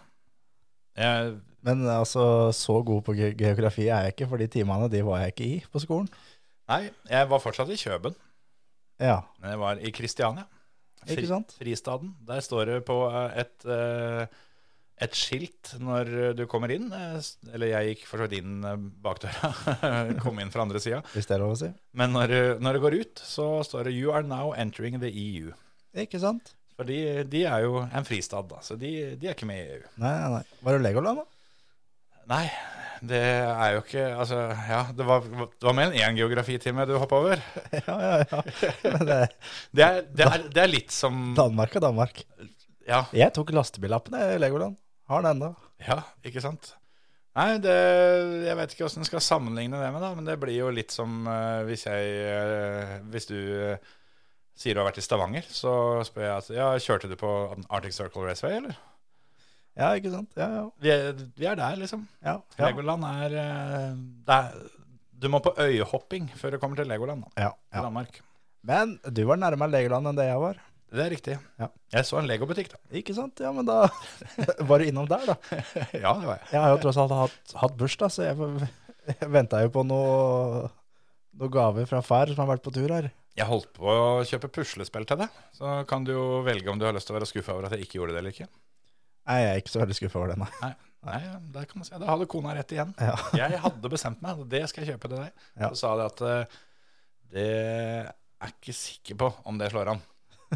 Speaker 2: Jeg,
Speaker 3: men altså, så god på ge geografi er jeg ikke, for de timene de var jeg ikke i på skolen.
Speaker 2: nei, jeg var fortsatt i Kjøben,
Speaker 3: Ja,
Speaker 2: men jeg var i Kristiania.
Speaker 3: Ikke sant?
Speaker 2: Fristaden. Der står det på eh, et, eh, et skilt når du kommer inn. eh, s- Eller jeg gikk for så vidt inn eh, bakdøra. (laughs) kom inn fra andre sida.
Speaker 3: hvis det er lov å si.
Speaker 2: Men når, du- når det går ut, så står det 'You are now entering the EU'.
Speaker 3: Ikke sant?
Speaker 2: For de, de er jo en fristad, da, så de, de er ikke med i EU.
Speaker 3: Nei, nei, nei. Var du Legoland, da? (laughs)
Speaker 2: Nei, det er jo ikke Altså, ja, det var, det var mer enn én geografitime du hoppa over.
Speaker 3: Ja, ja, ja. Men det er
Speaker 2: Det er, det, er, det er litt som
Speaker 3: Danmark og Danmark.
Speaker 2: Ja,
Speaker 3: Jeg tok lastebillappen jeg, i Legoland. Har den ennå.
Speaker 2: ja ikke sant? Nei, det, jeg vet ikke åssen en skal sammenligne det med, da, men det blir jo litt som eh, hvis jeg eh, Hvis du eh, sier du har vært i Stavanger, så spør jeg at ja, kjørte du på Arctic Circle Raceway, eller?
Speaker 3: Ja, ikke sant? Ja, ja.
Speaker 2: Vi er, vi er der, liksom.
Speaker 3: ja, ja.
Speaker 2: Legoland er, eh, det er Du må på øyehopping før du kommer til Legoland da,
Speaker 3: Ja,
Speaker 2: i
Speaker 3: ja.
Speaker 2: Danmark.
Speaker 3: Men du var nærmere Legoland enn det jeg var.
Speaker 2: Det er riktig.
Speaker 3: Ja.
Speaker 2: Jeg så en legobutikk, da.
Speaker 3: Ikke sant? Ja, men da (laughs) var du innom der, da.
Speaker 2: (laughs) ja, det var jeg.
Speaker 3: Jeg har jo tross alt hatt, hatt bursdag, så jeg, jeg venta jo på noe, noe gaver fra far som har vært på tur her.
Speaker 2: Jeg holdt på å kjøpe puslespill til deg. Så kan du jo velge om du har lyst til å være skuffa over at jeg ikke gjorde det eller ikke.
Speaker 3: Nei, jeg er ikke så veldig skuffa over den, nei.
Speaker 2: Nei, Nei der kan man si. Da hadde kona rett igjen.
Speaker 3: Ja.
Speaker 2: Jeg hadde bestemt meg, det skal jeg kjøpe til deg.
Speaker 3: Ja.
Speaker 2: Så sa de at eh, det er jeg ikke sikker på om det slår an.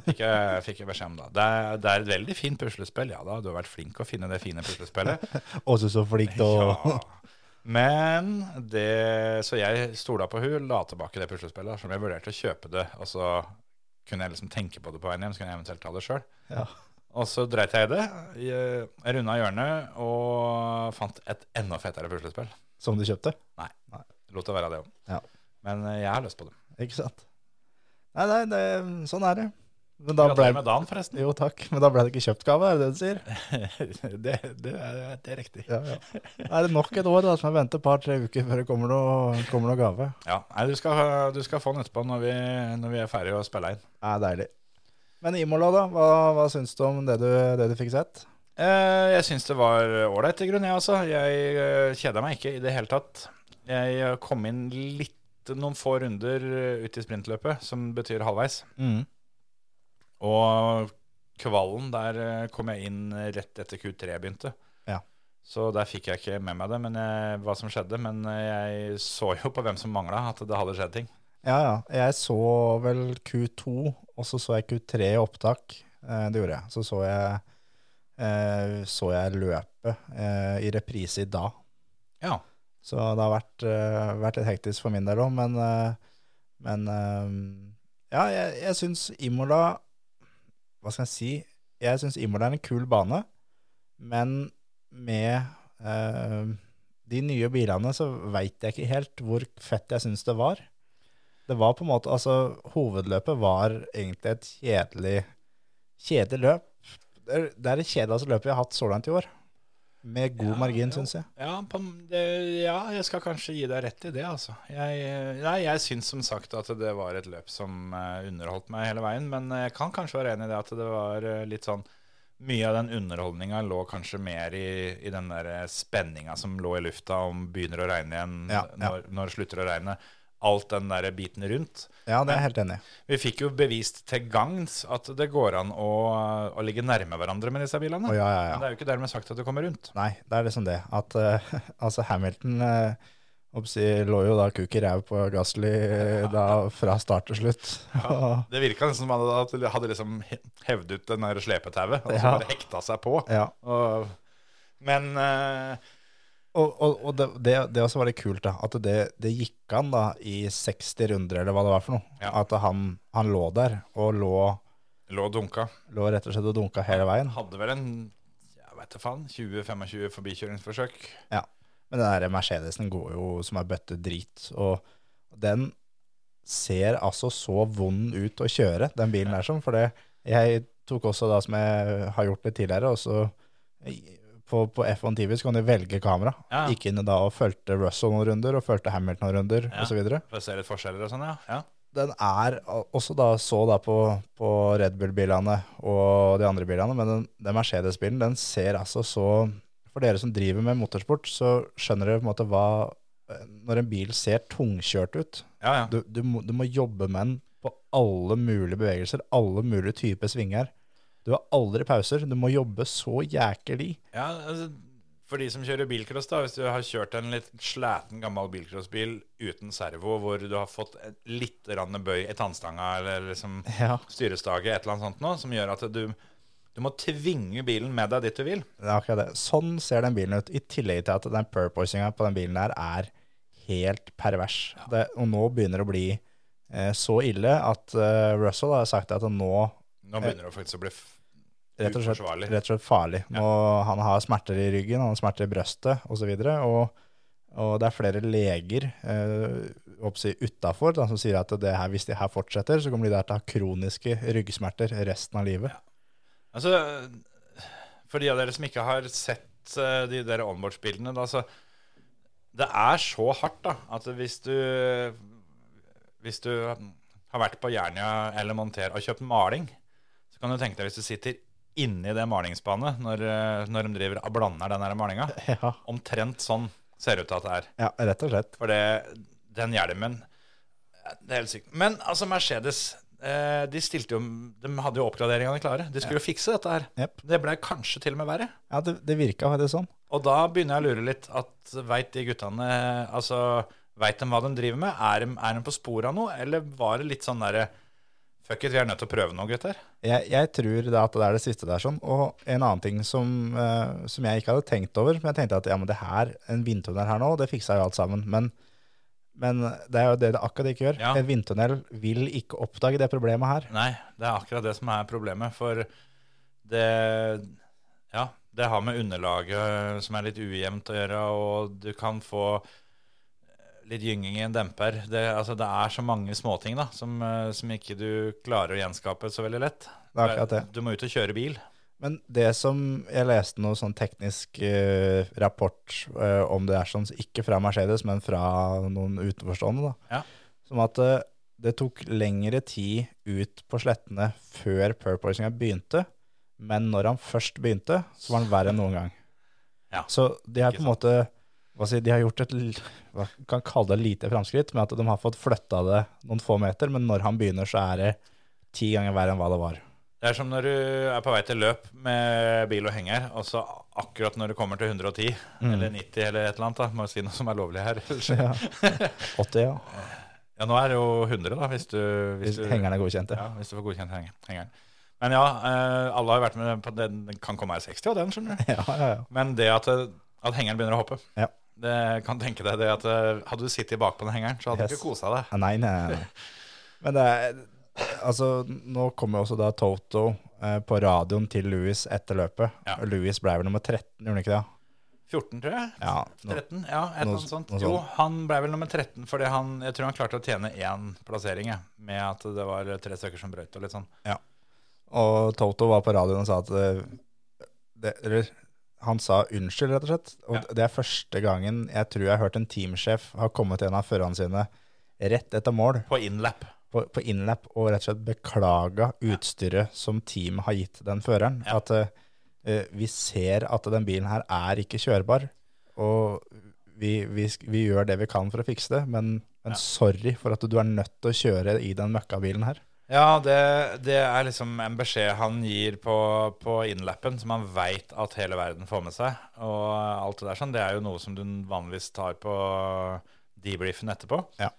Speaker 2: Fikk jeg, (laughs) fikk jeg beskjed om da. Det er, det er et veldig fint puslespill. Ja da, du har vært flink å finne det fine puslespillet.
Speaker 3: (laughs) Også så flink til å
Speaker 2: Ja. Men det Så jeg stola på hun, la tilbake det puslespillet. Som jeg vurderte å kjøpe det. Og så kunne jeg liksom tenke på det på veien hjem, så kunne jeg eventuelt ta det sjøl.
Speaker 3: (laughs) Ja.
Speaker 2: Og så dreit jeg i det. Jeg jeg runda hjørnet og fant et enda fetere puslespill.
Speaker 3: Som du kjøpte.
Speaker 2: Lot det være det òg.
Speaker 3: Ja.
Speaker 2: Men eh, jeg har lyst på det.
Speaker 3: Ikke sant? Nei, nei, det, sånn er det. Men da ble,
Speaker 2: Gratulerer med dagen, forresten. (laughs)
Speaker 3: jo, takk. Men da ble det ikke kjøpt gave, er det det du sier?
Speaker 2: det, det, er, det er riktig.
Speaker 3: Ja, ja. Da er det nok et år da, som jeg venter et par-tre uker før det kommer noe, kommer noe gave.
Speaker 2: Ja, nei, du, skal, du skal få den etterpå når vi, når vi er ferdige å spille inn.
Speaker 3: Det er deilig. Men Imola, da? Hva, hva syns du om det du, det du fikk sett?
Speaker 2: Eh, Jeg syns det var ålreit i grunnen, jeg altså. Jeg eh, kjeda meg ikke i det hele tatt. Jeg eh, kom inn litt, noen få runder eh, ut i sprintløpet, som betyr halvveis. Og kvalen, der eh, kom jeg inn rett etter Q3 begynte.
Speaker 3: Ja.
Speaker 2: Så der fikk jeg ikke med meg det, men jeg, hva som skjedde. Men eh, jeg så jo på hvem som mangla, at det hadde skjedd ting.
Speaker 3: Ja, ja. Jeg så vel Q2, og så så jeg Q3 i opptak. Eh, det gjorde jeg. Så så jeg, eh, så jeg løpet eh, i reprise i dag.
Speaker 2: Ja.
Speaker 3: Så det har vært, eh, vært litt hektisk for min del òg, men, eh, men eh, Ja, jeg, jeg syns Imola Hva skal jeg si? Jeg syns Imola er en kul bane, men med eh, de nye bilene så veit jeg ikke helt hvor fett jeg syns det var. Det var på en måte Altså, hovedløpet var egentlig et kjedelig Kjedelig løp. Det er det, er det kjedeligste løpet vi har hatt så langt i år. Med god
Speaker 2: Ja,
Speaker 3: margin,
Speaker 2: jo.
Speaker 3: syns jeg.
Speaker 2: Ja, på, det, ja, jeg skal kanskje gi deg rett i det, altså. Jeg, eh, nei, jeg syns som sagt at det var et løp som eh, underholdt meg hele veien, men eh, jeg kan kanskje være enig i det at det var eh, litt sånn mye av den underholdninga lå kanskje mer i, i den der eh, spenninga som lå i lufta om begynner å regne igjen,
Speaker 3: Ja, ja.
Speaker 2: Når, når slutter å regne. Alt den der biten rundt.
Speaker 3: Ja, det er jeg helt enig i.
Speaker 2: Vi fikk jo bevist til gagns at det går an å, å ligge nærme hverandre med disse bilene.
Speaker 3: Å, ja, ja, ja.
Speaker 2: Men det er jo ikke dermed sagt at du kommer rundt.
Speaker 3: Nei, det er liksom det. At eh, (laughs) altså Hamilton eh, oppsi, lå jo da kuk i ræv på Gasly eh, da, fra start til slutt. (laughs) Og-
Speaker 2: Det virka som han hadde, hadde liksom hevd ut den der slepetauet, og så
Speaker 3: Ja.
Speaker 2: bare hekta seg på.
Speaker 3: ja.
Speaker 2: Og, men eh,
Speaker 3: Og, og, og det, det, det også var litt kult, da. At det, det gikk an da i 60 runder, eller hva det var for noe.
Speaker 2: Ja.
Speaker 3: At han, han lå der, og lå,
Speaker 2: lå dunka.
Speaker 3: lå rett og slett og dunka hele veien.
Speaker 2: Hadde vel en jeg vet da faen, 20-25 forbikjøringsforsøk.
Speaker 3: Ja. Men den der Mercedesen går jo som ei bøtte drit, og den ser altså så vond ut å kjøre, den bilen der som, for det jeg tok også da som jeg har gjort det tidligere, og så på, på F1 TV så kan du velge kamera.
Speaker 2: Ja.
Speaker 3: Gikk inn da og fulgte Russell noen runder, og fulgte Hamilton noen runder,
Speaker 2: Ja.
Speaker 3: og så videre
Speaker 2: For å se litt forskjeller og sånn, ja. ja.
Speaker 3: den er også da så da på, på Red Bull-bilene og de andre bilene, men den, den Mercedes-bilen den ser altså så For dere som driver med motorsport, så skjønner dere på en måte hva Når en bil ser tungkjørt ut
Speaker 2: Ja, ja.
Speaker 3: Du, du, må, du må jobbe med den på alle mulige bevegelser, alle mulige typer svinger. Du har aldri pauser. Du må jobbe så jækelig.
Speaker 2: Ja, altså, for de som kjører bilcross, da, hvis du har kjørt en litt slæten gammel bilcrossbil uten servo, hvor du har fått et litt rand bøy i tannstanga eller liksom
Speaker 3: Ja.
Speaker 2: styrestaget, et eller annet sånt nå, som gjør at du, du må tvinge bilen med deg dit du vil.
Speaker 3: Det er akkurat det. Sånn ser den bilen ut, i tillegg til at den purposinga på den bilen der er helt pervers. Det, og nå begynner det å bli eh, så ille at eh, Russell har sagt at nå
Speaker 2: Nå begynner det faktisk å bli f-
Speaker 3: Eh, rett og slett,
Speaker 2: Uforsvarlig.
Speaker 3: rett og slett farlig. Nå, Han har smerter i ryggen, han har smerter i brøstet osv. Og, så videre, og og det er flere leger eh, utafor som sier at det her, hvis de her fortsetter, så kommer de der til å ha kroniske ryggsmerter resten av livet.
Speaker 2: Altså, for de av dere som ikke har sett eh, de der onboards-bildene, da, så det er så hardt da, at hvis du, hvis du har vært på Jernia eller Monter og kjøpt maling, så kan du tenke deg hvis du sitter inni det malingsspannet når, eh, når de driver og blander den her malinga.
Speaker 3: Ja,
Speaker 2: Omtrent sånn ser det ut til at det er.
Speaker 3: ja rett og slett.
Speaker 2: For det, den hjelmen Det er helt sykt. Men altså, Mercedes eh, de, stilte jo, de hadde jo oppgraderingene klare. De skulle jo fikse dette her.
Speaker 3: Jepp.
Speaker 2: Det ble kanskje til og med verre.
Speaker 3: Ja, det, det virka faktisk sånn.
Speaker 2: Og da begynner jeg å lure litt at veit de guttene Altså, veit de hva de driver med? Er de, er de på sporet av noe, eller var det litt sånn derre Fuck it, vi er nødt til å prøve noe, gutter.
Speaker 3: Jeg, jeg tror da at det er det siste der sånn. Og en annen ting som, eh, som jeg ikke hadde tenkt over, men jeg tenkte at ja, men det her, en vindtunnel her nå, det fiksa jo alt sammen. Men, men det er jo det det akkurat ikke gjør.
Speaker 2: Ja.
Speaker 3: En vindtunnel vil ikke oppdage det problemet her.
Speaker 2: Nei, det er akkurat det som er problemet, for det Ja, det har med underlaget som er litt ujevnt å gjøre, og du kan få litt gynging i en demper. Det, altså, det er så mange småting da, som, eh, som ikke du klarer å gjenskape så veldig lett.
Speaker 3: Det er akkurat det.
Speaker 2: Du må ut og kjøre bil.
Speaker 3: Men det som jeg leste noe sånn teknisk eh, rapport eh, om det er sånn, ikke fra Mercedes, men fra noen utenforstående, da.
Speaker 2: Ja.
Speaker 3: Som at eh, det tok lengre tid ut på slettene før purpoisinga begynte, men når han først begynte, så var han verre enn noen gang.
Speaker 2: (laughs) Ja,
Speaker 3: Så de har
Speaker 2: ikke
Speaker 3: på en måte hva si, de har gjort et l- hva kan kalle det lite framskritt, med at de har fått flytta det noen få meter, men når han begynner, så er det ti ganger verre enn hva det var.
Speaker 2: Det er som når du er på vei til løp med bil og henger, og så akkurat når du kommer til 110 eller 90 eller et eller annet, da, må jeg si noe som er lovlig her. ellers-
Speaker 3: Mm. (laughs) Ja. 80, ja.
Speaker 2: Ja, nå er det jo 100 da, hvis du, hvis
Speaker 3: Hvis
Speaker 2: du,
Speaker 3: hengeren er godkjent, ja.
Speaker 2: ja, hvis du får godkjent henge- hengeren. Men ja, eh, alle har vært med på den, den kan komme her 60 og den, skjønner du.
Speaker 3: (laughs) Ja, ja, ja.
Speaker 2: Men det at, eh, at hengeren begynner å hoppe,
Speaker 3: Ja.
Speaker 2: det kan tenke deg det at eh, hadde du sittet bak på den hengeren, så hadde du
Speaker 3: Yes.
Speaker 2: ikke koset deg.
Speaker 3: Ah, Nei, nei, nei. nei. Men det er Altså, nå kommer jo også da Toto eh, på radioen til Louis etter løpet.
Speaker 2: Ja.
Speaker 3: Og Louis ble vel nummer 13, gjorde han ikke det?
Speaker 2: 14, tror jeg.
Speaker 3: Ja. Nå, sånn.
Speaker 2: 13, ja, et eller
Speaker 3: noe-
Speaker 2: annet sånt.
Speaker 3: noe
Speaker 2: Jo,
Speaker 3: sånt.
Speaker 2: han ble vel nummer 13 fordi han, jeg tror han klarte å tjene én plassering, jeg, med at det var tre stykker som brøyt og litt sånn.
Speaker 3: og Toto var på radioen og sa at eh, det, Eller han sa unnskyld, rett og slett. Og
Speaker 2: Ja.
Speaker 3: det er første gangen jeg tror jeg har hørt en teamsjef har kommet til en av førerne sine rett etter mål
Speaker 2: På innlap.
Speaker 3: på, på innlap og rett og slett beklaga utstyret som teamet har gitt den føreren.
Speaker 2: Ja.
Speaker 3: At eh, eh, vi ser at den bilen her er ikke kjørbar, og vi, vi, sk- vi gjør det vi kan for å fikse det, men, men sorry for at du er nødt til å kjøre i den møkkabilen her.
Speaker 2: Ja, det, det er liksom en beskjed han gir på, på innlappen, som han veit at hele verden får med seg. Og alt det der sånn, det er jo noe som du vanligvis tar på debriefen etterpå.
Speaker 3: Ja.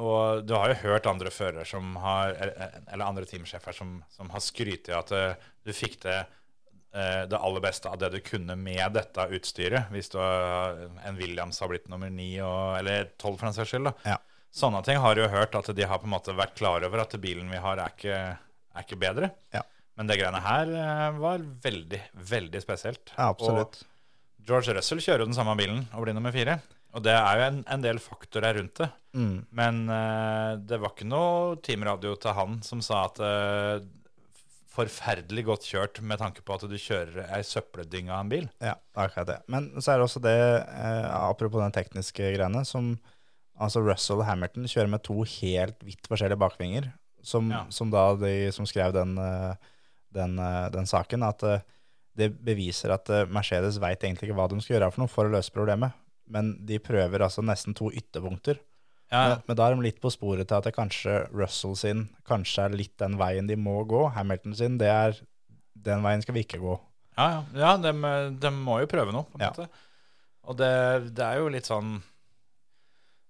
Speaker 2: Og du har jo hørt andre førere som har, eller eller andre teamsjefer som, som har skrytt i at eh, du fikk det, eh, det aller beste av det du kunne med dette utstyret. Hvis du, har- en Williams har blitt nummer ni, og, eller tolv for den saks skyld. da.
Speaker 3: Ja.
Speaker 2: Sånne ting har du jo hørt at de har på en måte vært klar over at bilen vi har er ikke, er ikke bedre.
Speaker 3: Ja.
Speaker 2: Men det greiene her eh, var veldig, veldig spesielt.
Speaker 3: Ja, absolutt.
Speaker 2: Og George Russell kjører jo den samme bilen og blir nummer fire. Og det er jo en, en del faktorer rundt det.
Speaker 3: Mm.
Speaker 2: Men eh, det var ikke noe teamradio til han som sa at eh, Forferdelig godt kjørt med tanke på at du kjører ei søppeldynge av en bil.
Speaker 3: Ja, det er akkurat det. Men så er det også det, eh, apropos den tekniske greiene, som altså Russell og Hamilton kjører med to helt vidt forskjellige bakvinger, som,
Speaker 2: Ja.
Speaker 3: som da de som skrev den, eh, den, eh, den saken, at eh, det beviser at eh, Mercedes vet egentlig ikke hva de skal gjøre for noe for å løse problemet, men de prøver altså nesten to ytterpunkter.
Speaker 2: Ja,
Speaker 3: Men, men da er de litt på sporet til at det kanskje Russell sin kanskje er litt den veien de må gå, Hamilton sin, det er den veien skal vi ikke gå.
Speaker 2: Ja, ja. ja de, de må jo prøve noe, på en
Speaker 3: Ja.
Speaker 2: måte. Og det, det er jo litt sånn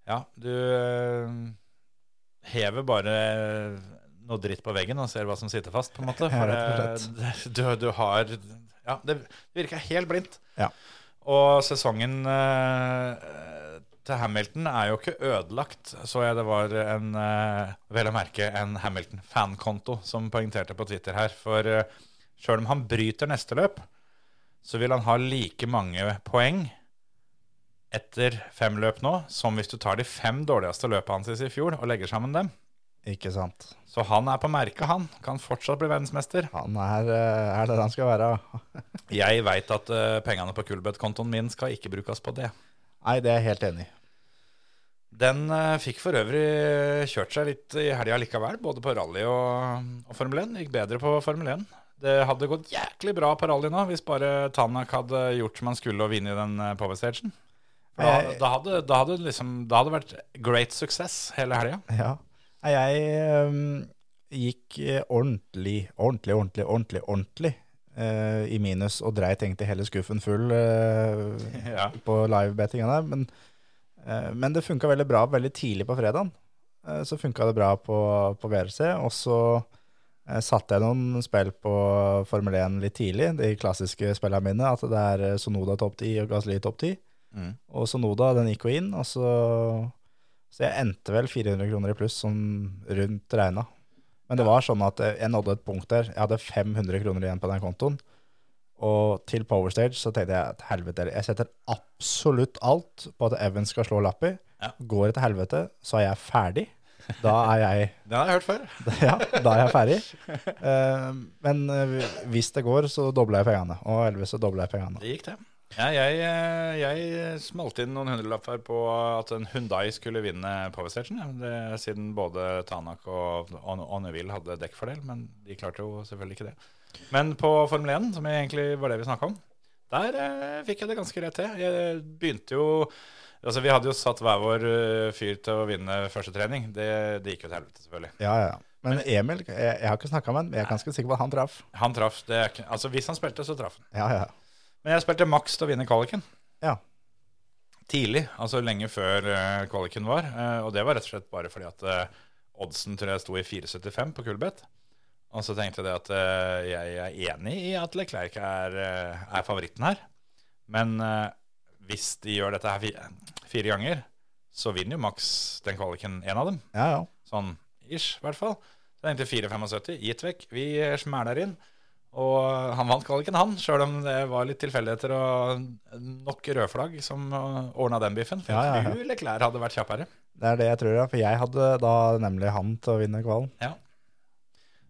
Speaker 2: Ja, du eh, hever bare noe dritt på veggen og ser hva som sitter fast, på en måte. For
Speaker 3: rett
Speaker 2: det,
Speaker 3: og
Speaker 2: (laughs) det- du, du har Ja, det virker helt blindt.
Speaker 3: Ja.
Speaker 2: Og sesongen eh, til Hamilton er jo ikke ødelagt, så jeg det var en eh, Vel å merke en Hamilton-fankonto som poengterte på Twitter her. For eh, Sjøl om han bryter neste løp, så vil han ha like mange poeng etter fem løp nå, som hvis du tar de fem dårligste løpene hans i fjor og legger sammen dem.
Speaker 3: Ikke sant?
Speaker 2: Så han er på merket, han. Kan fortsatt bli verdensmester.
Speaker 3: Han er, eh, er det han skal være.
Speaker 2: Jeg veit at eh, pengene på Kulbeth-kontoen min skal ikke brukes på det.
Speaker 3: Nei, det er jeg helt enig i.
Speaker 2: Den eh, fikk for øvrig eh, kjørt seg litt i helga likevel, både på rally og, og Formel 1. Gikk bedre på Formel 1. Det hadde gått jæklig bra på rally nå, hvis bare Tanak hadde gjort som han skulle og vunnet den eh, Power Stagen. For Da,
Speaker 3: Jeg-
Speaker 2: da, hadde, da, hadde liksom, da hadde det vært great success hele helga.
Speaker 3: Ja. Nei, Jeg øhm, gikk eh, ordentlig, ordentlig, ordentlig, ordentlig, ordentlig eh, i minus og dreit egentlig hele skuffen full eh,
Speaker 2: Ja.
Speaker 3: på livebettinga der. Men, eh, men det funka veldig bra veldig tidlig på fredagen. Eh, så funka det bra på, på VRC. Og så eh, satte jeg noen spill på Formel 1 litt tidlig, de klassiske spillene mine. At det er eh, Sonoda topp 10 og Gasli topp 10.
Speaker 2: Mm.
Speaker 3: Og Sonoda, den gikk jo inn, og så Så jeg endte vel 400 kroner i pluss, sånn rundt regna. Men det var sånn at eh, jeg nådde et punkt der. Jeg hadde 500 kroner igjen på den kontoen. Og til Powerstage så tenkte jeg at helvete, jeg setter absolutt alt på at Evans skal slå Lappi.
Speaker 2: Ja.
Speaker 3: Går det til helvete, så er jeg ferdig. Da er jeg, (laughs)
Speaker 2: Den har jeg hørt før.
Speaker 3: ja, da er jeg ferdig. Eh, men eh, hvis det går, så dobler jeg pengene. Og heldigvis så dobler jeg pengene.
Speaker 2: Det gikk, det. Ja, jeg, eh, jeg smalt inn noen hundrelapper på at en Hundai skulle vinne Power Station. Ja. Det, siden både Tanak og og- og Neville hadde dekkfordel, men de klarte jo selvfølgelig ikke det. Men på Formel 1, som egentlig var det vi snakka om, der eh, fikk jeg det ganske rett til. Jeg begynte jo Altså, Vi hadde jo satt hver vår eh, fyr til å vinne første trening. Det, det gikk jo til helvete, selvfølgelig.
Speaker 3: Ja, ja. ja. Men Emil, jeg, jeg har ikke snakka med han, men jeg er ganske sikker på at han traff.
Speaker 2: Han traff. det er ikke- Altså, Hvis han spilte, så traff han.
Speaker 3: Ja, ja.
Speaker 2: Men jeg spilte maks til å vinne kvaliken.
Speaker 3: Ja.
Speaker 2: Tidlig, altså lenge før eh, kvaliken var. eh, og det var rett og slett bare fordi at eh, oddsen tror jeg sto i 4,75 på Kulbeth. Og så tenkte jeg det at eh, jeg er enig i at Leclerc er, eh, er favoritten her. Men eh, hvis de gjør dette her fi- fire ganger, så vinner jo maks den kvaliken én av dem.
Speaker 3: ja, ja.
Speaker 2: Sånn ish, i hvert fall. Så det endte 4,75. Gitt vekk. Vi smæler inn. Og han vant kvaliken, han, sjøl om det var litt tilfeldigheter og nok rødflagg som ordna den biffen. For
Speaker 3: Ja, ja,
Speaker 2: jeg
Speaker 3: ja.
Speaker 2: tror Leclerc hadde vært kjappere.
Speaker 3: Det er det jeg tror, ja. For jeg hadde da nemlig han til å vinne kvalen.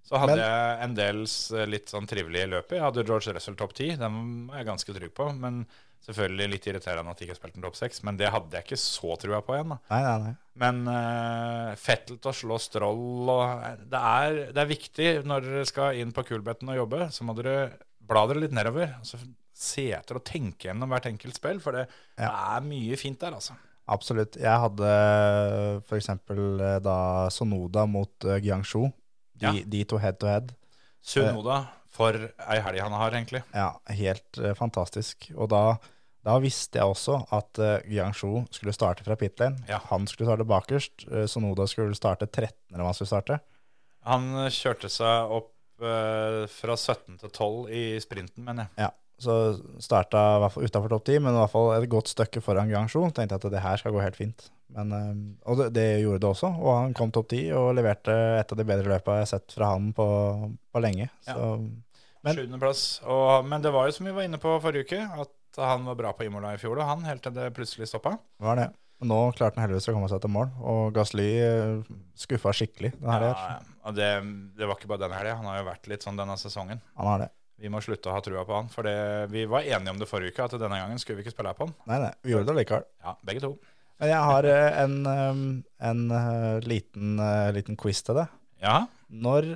Speaker 2: Så hadde
Speaker 3: Men-
Speaker 2: jeg en del s- litt sånn trivelige løp. Jeg hadde George Russell topp 10, den er jeg ganske trygg på. Men selvfølgelig litt irriterende at jeg ikke spilte den topp 6, men det hadde jeg ikke så trua på igjen. da.
Speaker 3: Nei, nei, nei.
Speaker 2: Men eh, Fettel til å slå Stroll og eh, det er, det er viktig når dere skal inn på Kulbetten og jobbe, så må dere bla dere litt nedover. og så se etter og tenke gjennom hvert enkelt spill, for det er mye fint der, altså.
Speaker 3: Absolutt. Jeg hadde eh, f.eks. da Sonoda mot eh, Guangzhou. De,
Speaker 2: Ja.
Speaker 3: de to head to head.
Speaker 2: Sunoda, for ei helg han har, egentlig.
Speaker 3: Ja, helt eh, fantastisk. Og da, da visste jeg også at uh, Guangzhou skulle starte fra pit lane.
Speaker 2: Ja.
Speaker 3: Han skulle starte bakerst. eh, Sonoda skulle starte 13, eller hva han skulle starte.
Speaker 2: Han eh, kjørte seg opp eh, fra 17 til 12 i sprinten, eh, mener jeg.
Speaker 3: Ja, så starta i hvert fall utenfor topp 10, men i hvert fall et godt stykke foran Guangzhou. Tenkte jeg at det her skal gå helt fint. Men, eh, og det, det gjorde det også, og han kom topp 10 og leverte et av de bedre løpa jeg har sett fra han på, på lenge.
Speaker 2: Ja.
Speaker 3: Så, Men-
Speaker 2: Sjuendeplass. Og- Men det var jo som vi var inne på forrige uke, at han var bra på Imola i fjor, og han helt til det plutselig stoppa.
Speaker 3: var det. Men Nå klarte han heldigvis å komme seg til mål, og Gasly eh, skuffa skikkelig. Den her,
Speaker 2: Ja, og det, det var ikke bare den helga. Han har jo vært litt sånn denne sesongen.
Speaker 3: Han har det.
Speaker 2: Vi må slutte å ha trua på han. For det, vi var enige om det forrige uke, at denne gangen skulle vi ikke spille her på han.
Speaker 3: Nei, nei, vi gjorde det likevel.
Speaker 2: Ja, begge to.
Speaker 3: Men jeg har eh, en, eh, en eh, liten, eh, liten quiz til deg.
Speaker 2: Ja,
Speaker 3: Når,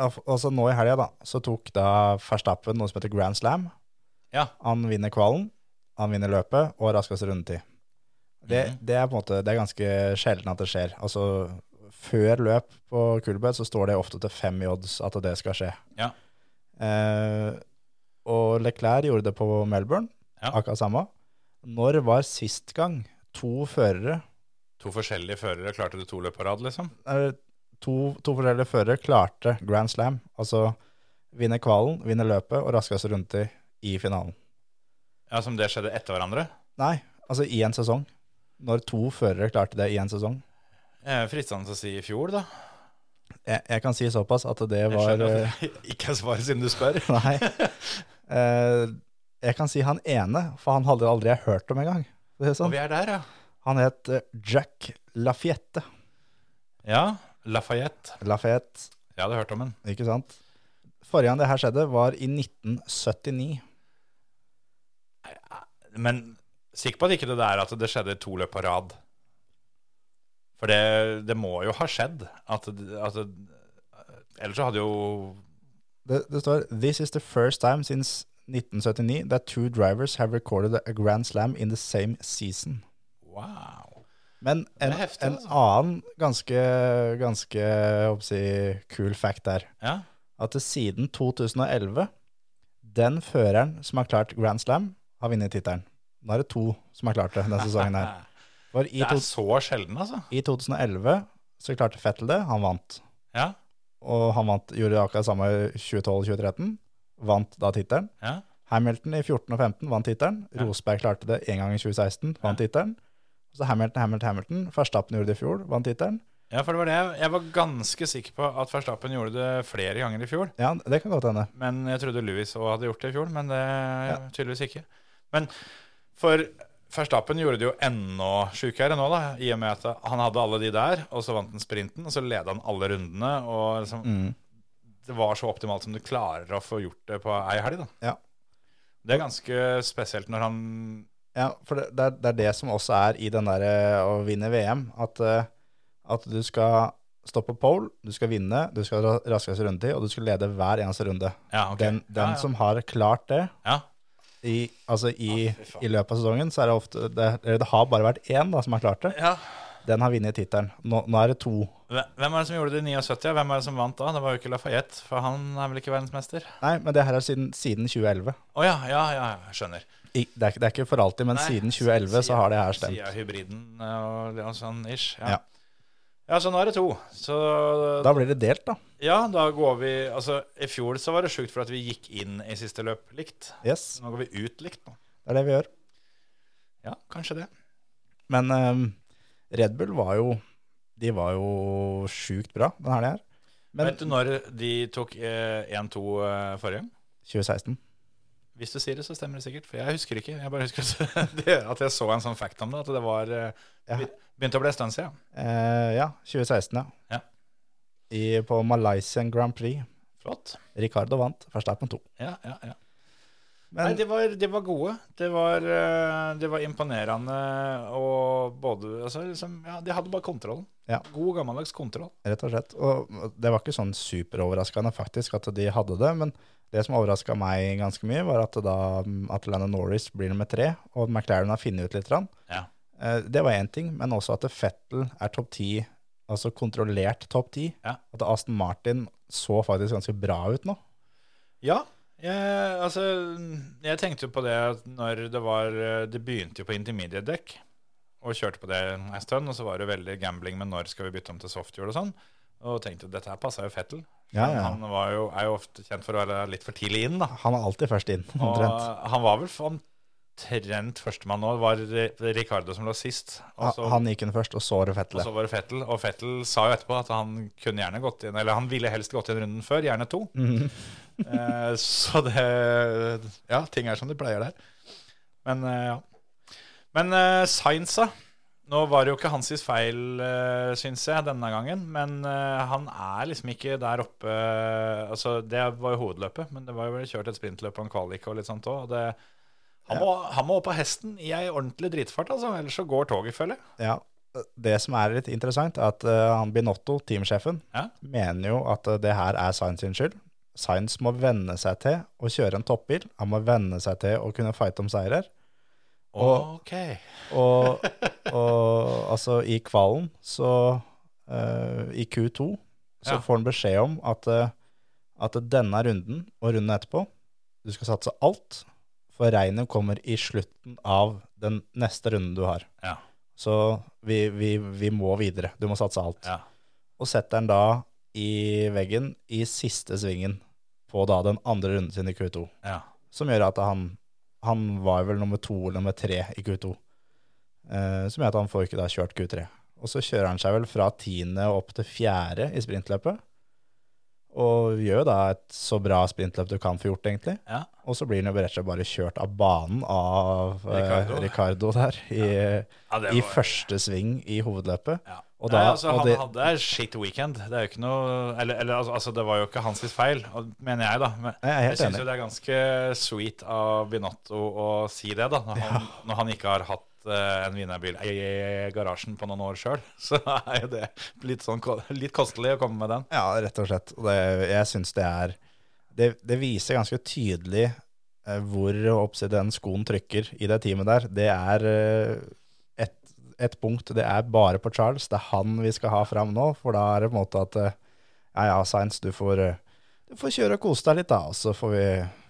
Speaker 3: al- altså nå i helga da, så tok da Verstappen noe som heter Grand Slam.
Speaker 2: Ja.
Speaker 3: Han vinner kvalen, han vinner løpet og raskeste rundetid. Det,
Speaker 2: Mhm.
Speaker 3: det er på en måte, det er ganske sjelden at det skjer. Altså, før løp på Kulbeth så står det ofte til fem i odds at det skal skje.
Speaker 2: Ja.
Speaker 3: Eh, og Leclerc gjorde det på Melbourne,
Speaker 2: Ja.
Speaker 3: akkurat samme. Når var sist gang to førere
Speaker 2: to forskjellige førere klarte det to løp på rad, liksom.
Speaker 3: er to, to forskjellige førere klarte Grand Slam. Altså vinne kvalen, vinne løpet og raskeste rundetid i finalen.
Speaker 2: Ja, Som det skjedde etter hverandre.
Speaker 3: Nei, altså i en sesong. Når to førere klarte det i en sesong.
Speaker 2: Eh, Fristende å si i fjor, da.
Speaker 3: Jeg, jeg kan si såpass at det
Speaker 2: Jeg
Speaker 3: var
Speaker 2: skjønner
Speaker 3: eh,
Speaker 2: at det (laughs) ikke er svaret siden du spør.
Speaker 3: (laughs) Nei. Eh, jeg kan si han ene, for han hadde aldri jeg hørt om engang. Det er
Speaker 2: Og
Speaker 3: Sånn.
Speaker 2: vi er der, ja.
Speaker 3: Han het eh, Jack Lafiette.
Speaker 2: Ja, Lafayette.
Speaker 3: Lafiette,
Speaker 2: Jeg hadde hørt om den.
Speaker 3: ikke sant? Forrige gang det her skjedde, var i 1979.
Speaker 2: Men sikker på at ikke det der at det skjedde to løp på rad. For det, det må jo ha skjedd. At, at Ellers så hadde jo
Speaker 3: Det, det står This is the first time since 1979 that two drivers have recorded a Grand Slam in the same season.
Speaker 2: Wow.
Speaker 3: Men en,
Speaker 2: er heftig,
Speaker 3: en
Speaker 2: altså.
Speaker 3: annen ganske, ganske hva skal jeg si, kul fact der,
Speaker 2: Ja.
Speaker 3: at det siden 2011, den føreren som har klart Grand Slam, har vunnet tittelen. Nå er det to som har klart det denne sesongen her.
Speaker 2: (laughs)
Speaker 3: For i,
Speaker 2: Det
Speaker 3: to,
Speaker 2: er så sjelden, altså.
Speaker 3: I 2011 så klarte Fettel det, han vant.
Speaker 2: Ja.
Speaker 3: Og han vant, gjorde akkurat det samme i 2012-2013, vant da tittelen.
Speaker 2: ja.
Speaker 3: Hamilton i 14 og 15 vant tittelen. Rosberg klarte det én gang i 2016, vant tittelen. Så Hamilton, Hamilton, Hamilton. Verstappen gjorde det i fjor, vant tittelen.
Speaker 2: Ja, for det var det. jeg- Jeg var ganske sikker på at Verstappen gjorde det flere ganger i fjor.
Speaker 3: Ja, det kan godt hende.
Speaker 2: Men jeg trodde Lewis òg hadde gjort det i fjor, men det tydeligvis ikke. Men for Verstappen gjorde det jo enda sjukere nå, da, i og med at han hadde alle de der, og så vant han sprinten, og så leda han alle rundene, og liksom
Speaker 3: Mm.
Speaker 2: Det var så optimalt som du klarer å få gjort det på ei helg, da.
Speaker 3: Ja.
Speaker 2: Det er ganske spesielt når han
Speaker 3: Ja, for det, det, er, det er det som også er i den der eh, å vinne VM, at, eh, at du skal stå på pole, du skal vinne, du skal ha ra- raskeste rundetid, og du skal lede hver eneste runde.
Speaker 2: Ja, ok.
Speaker 3: Den, den
Speaker 2: ja, ja.
Speaker 3: som har klart det,
Speaker 2: ja.
Speaker 3: i, altså i, i løpet av sesongen, så er det ofte Det, eller det har bare vært én da, som har klart det.
Speaker 2: ja.
Speaker 3: Den har vunnet tittelen. Nå, nå er det to.
Speaker 2: Hvem er det som gjorde det i 79? ja? Hvem er det som vant da? Det var jo ikke Lafayette, for han er vel ikke verdensmester?
Speaker 3: Nei, men det her er siden, siden 2011.
Speaker 2: Å ja, ja, ja, jeg skjønner.
Speaker 3: I, det, er, ikke- det er ikke for alltid, men
Speaker 2: Nei,
Speaker 3: siden 2011 så har det her stemt.
Speaker 2: Sier hybriden eh, og det er sånn ish.
Speaker 3: Ja.
Speaker 2: Ja. ja, så nå er det to. Så
Speaker 3: Da blir det delt, da.
Speaker 2: ja, da går vi Altså, i fjor så var det sjukt for at vi gikk inn i siste løp likt.
Speaker 3: Yes,
Speaker 2: Nå går vi ut likt nå.
Speaker 3: det er det vi gjør.
Speaker 2: Ja, kanskje det.
Speaker 3: Men ehm, Red Bull var jo De var jo sjukt bra den helga her. Men
Speaker 2: Vet du når de tok eh, 1-2 eh, forrige?
Speaker 3: 2016.
Speaker 2: Hvis du sier det, så stemmer det sikkert. For jeg husker ikke. Jeg bare husker at, (laughs) det, at jeg så en sånn fact om det. At det var eh,
Speaker 3: Ja.
Speaker 2: be- Begynte å bli en stund siden.
Speaker 3: Eh, ja, 2016, ja.
Speaker 2: Ja.
Speaker 3: I, på Malaysian Grand Prix.
Speaker 2: Flott.
Speaker 3: Ricardo vant, Verstappen to.
Speaker 2: Ja, ja, ja. Nei,
Speaker 3: Men
Speaker 2: de var, de var gode. Det var, eh, de var imponerende og både altså, liksom, ja, De hadde bare kontrollen.
Speaker 3: Ja.
Speaker 2: God, gammeldags kontroll.
Speaker 3: rett og slett Og det var ikke sånn superoverraskende faktisk at de hadde det, men det som overraska meg ganske mye, var at da mm, at Landon Norris blir nummer tre, og McLaren har funnet ut litt. grann.
Speaker 2: Ja.
Speaker 3: Eh, Det var én ting, men også at Fettel er topp ti, altså kontrollert topp ti.
Speaker 2: Ja.
Speaker 3: At Aston Martin så faktisk ganske bra ut nå.
Speaker 2: Ja, jeg, altså Jeg tenkte jo på det at når det var eh, Det begynte jo på intermediate-dekk og kjørte på det en stund, og så var det veldig gambling med når skal vi bytte om til softhjul og sånn. Og tenkte dette her passa jo Fettel.
Speaker 3: Ja, ja.
Speaker 2: Han var jo, er jo ofte kjent for å være litt for tidlig inn, da.
Speaker 3: Han er alltid først inn,
Speaker 2: Og
Speaker 3: omtrent.
Speaker 2: han var vel omtrent førstemann nå. Det var Ri- Ricardo som lå sist. Og så,
Speaker 3: Han- Han gikk inn først, og så var det
Speaker 2: og
Speaker 3: Fettel.
Speaker 2: så var det Fettel. Og Fettel sa jo etterpå at han kunne gjerne gått inn Eller han ville helst gått inn runden før, gjerne to. (laughs) eh, så det Ja, ting er som det pleier der. Men eh, ja. Men eh, Sainz, da. Nå var det jo ikke hans sitt feil, eh, syns jeg, denne gangen. Men eh, han er liksom ikke der oppe Altså, det var jo hovedløpet, men det var jo kjørt et sprintløp og en kvalik og litt sånt òg. Og det han må, han må opp av hesten i ei ordentlig dritfart, altså, ellers så går toget, føler jeg.
Speaker 3: Ja. Det som er litt interessant, er at eh, han Binotto, teamsjefen,
Speaker 2: Ja.
Speaker 3: mener jo at eh, det her er Sainz sin skyld. Sainz må venne seg til å kjøre en toppbil. Han må venne seg til å kunne fighte om seirer. Og-
Speaker 2: Ok. (laughs)
Speaker 3: Og, og altså, i kvalen, så eh, I Q2, så
Speaker 2: Ja.
Speaker 3: får han beskjed om at, eh, at denne runden og runden etterpå, du skal satse alt, for regnet kommer i slutten av den neste runden du har.
Speaker 2: Ja.
Speaker 3: Så vi, vi, vi må videre. Du må satse alt
Speaker 2: Ja.
Speaker 3: og setter den da i veggen i siste svingen på da den andre runden sin i Q2,
Speaker 2: ja.
Speaker 3: som gjør at han, han var vel nummer to eller nummer tre i Q2, eh, som gjør at han får ikke da kjørt Q3. Og så kjører han seg vel fra tiende og opp til fjerde i sprintløpet, og gjør jo da et så bra sprintløp du kan få gjort egentlig,
Speaker 2: Ja.
Speaker 3: og så blir han jo rett og slett bare kjørt av banen av eh,
Speaker 2: Ricardo.
Speaker 3: Ricardo der i,
Speaker 2: Ja, det
Speaker 3: i
Speaker 2: var-
Speaker 3: første sving i hovedløpet,
Speaker 2: Ja.
Speaker 3: Og
Speaker 2: Nei,
Speaker 3: da,
Speaker 2: altså,
Speaker 3: og
Speaker 2: han
Speaker 3: det,
Speaker 2: hadde en shit weekend. Det er jo ikke noe Eller, eller altså, altså, det var jo ikke hans sitt feil, og- mener jeg, da. Men
Speaker 3: Jeg er helt
Speaker 2: synes
Speaker 3: enig.
Speaker 2: jo det er ganske sweet av Binotto å si det, da. Når han, når han ikke har hatt eh, en wienerbil i garasjen på noen år sjøl, (laughs) så er jo det litt, sånn, ko- litt kostelig å komme med den.
Speaker 3: ja, rett og slett. Og det, jeg syns det er det, det viser ganske tydelig eh, hvor oppsi den skoen trykker i det teamet der. Det er eh, et, et punkt. Det er bare på Charles. Det er han vi skal ha fram nå, for da er det på en måte at eh, Ja, ja, Sainz, du får, eh, du får kjøre og kose deg litt, da, og så får vi,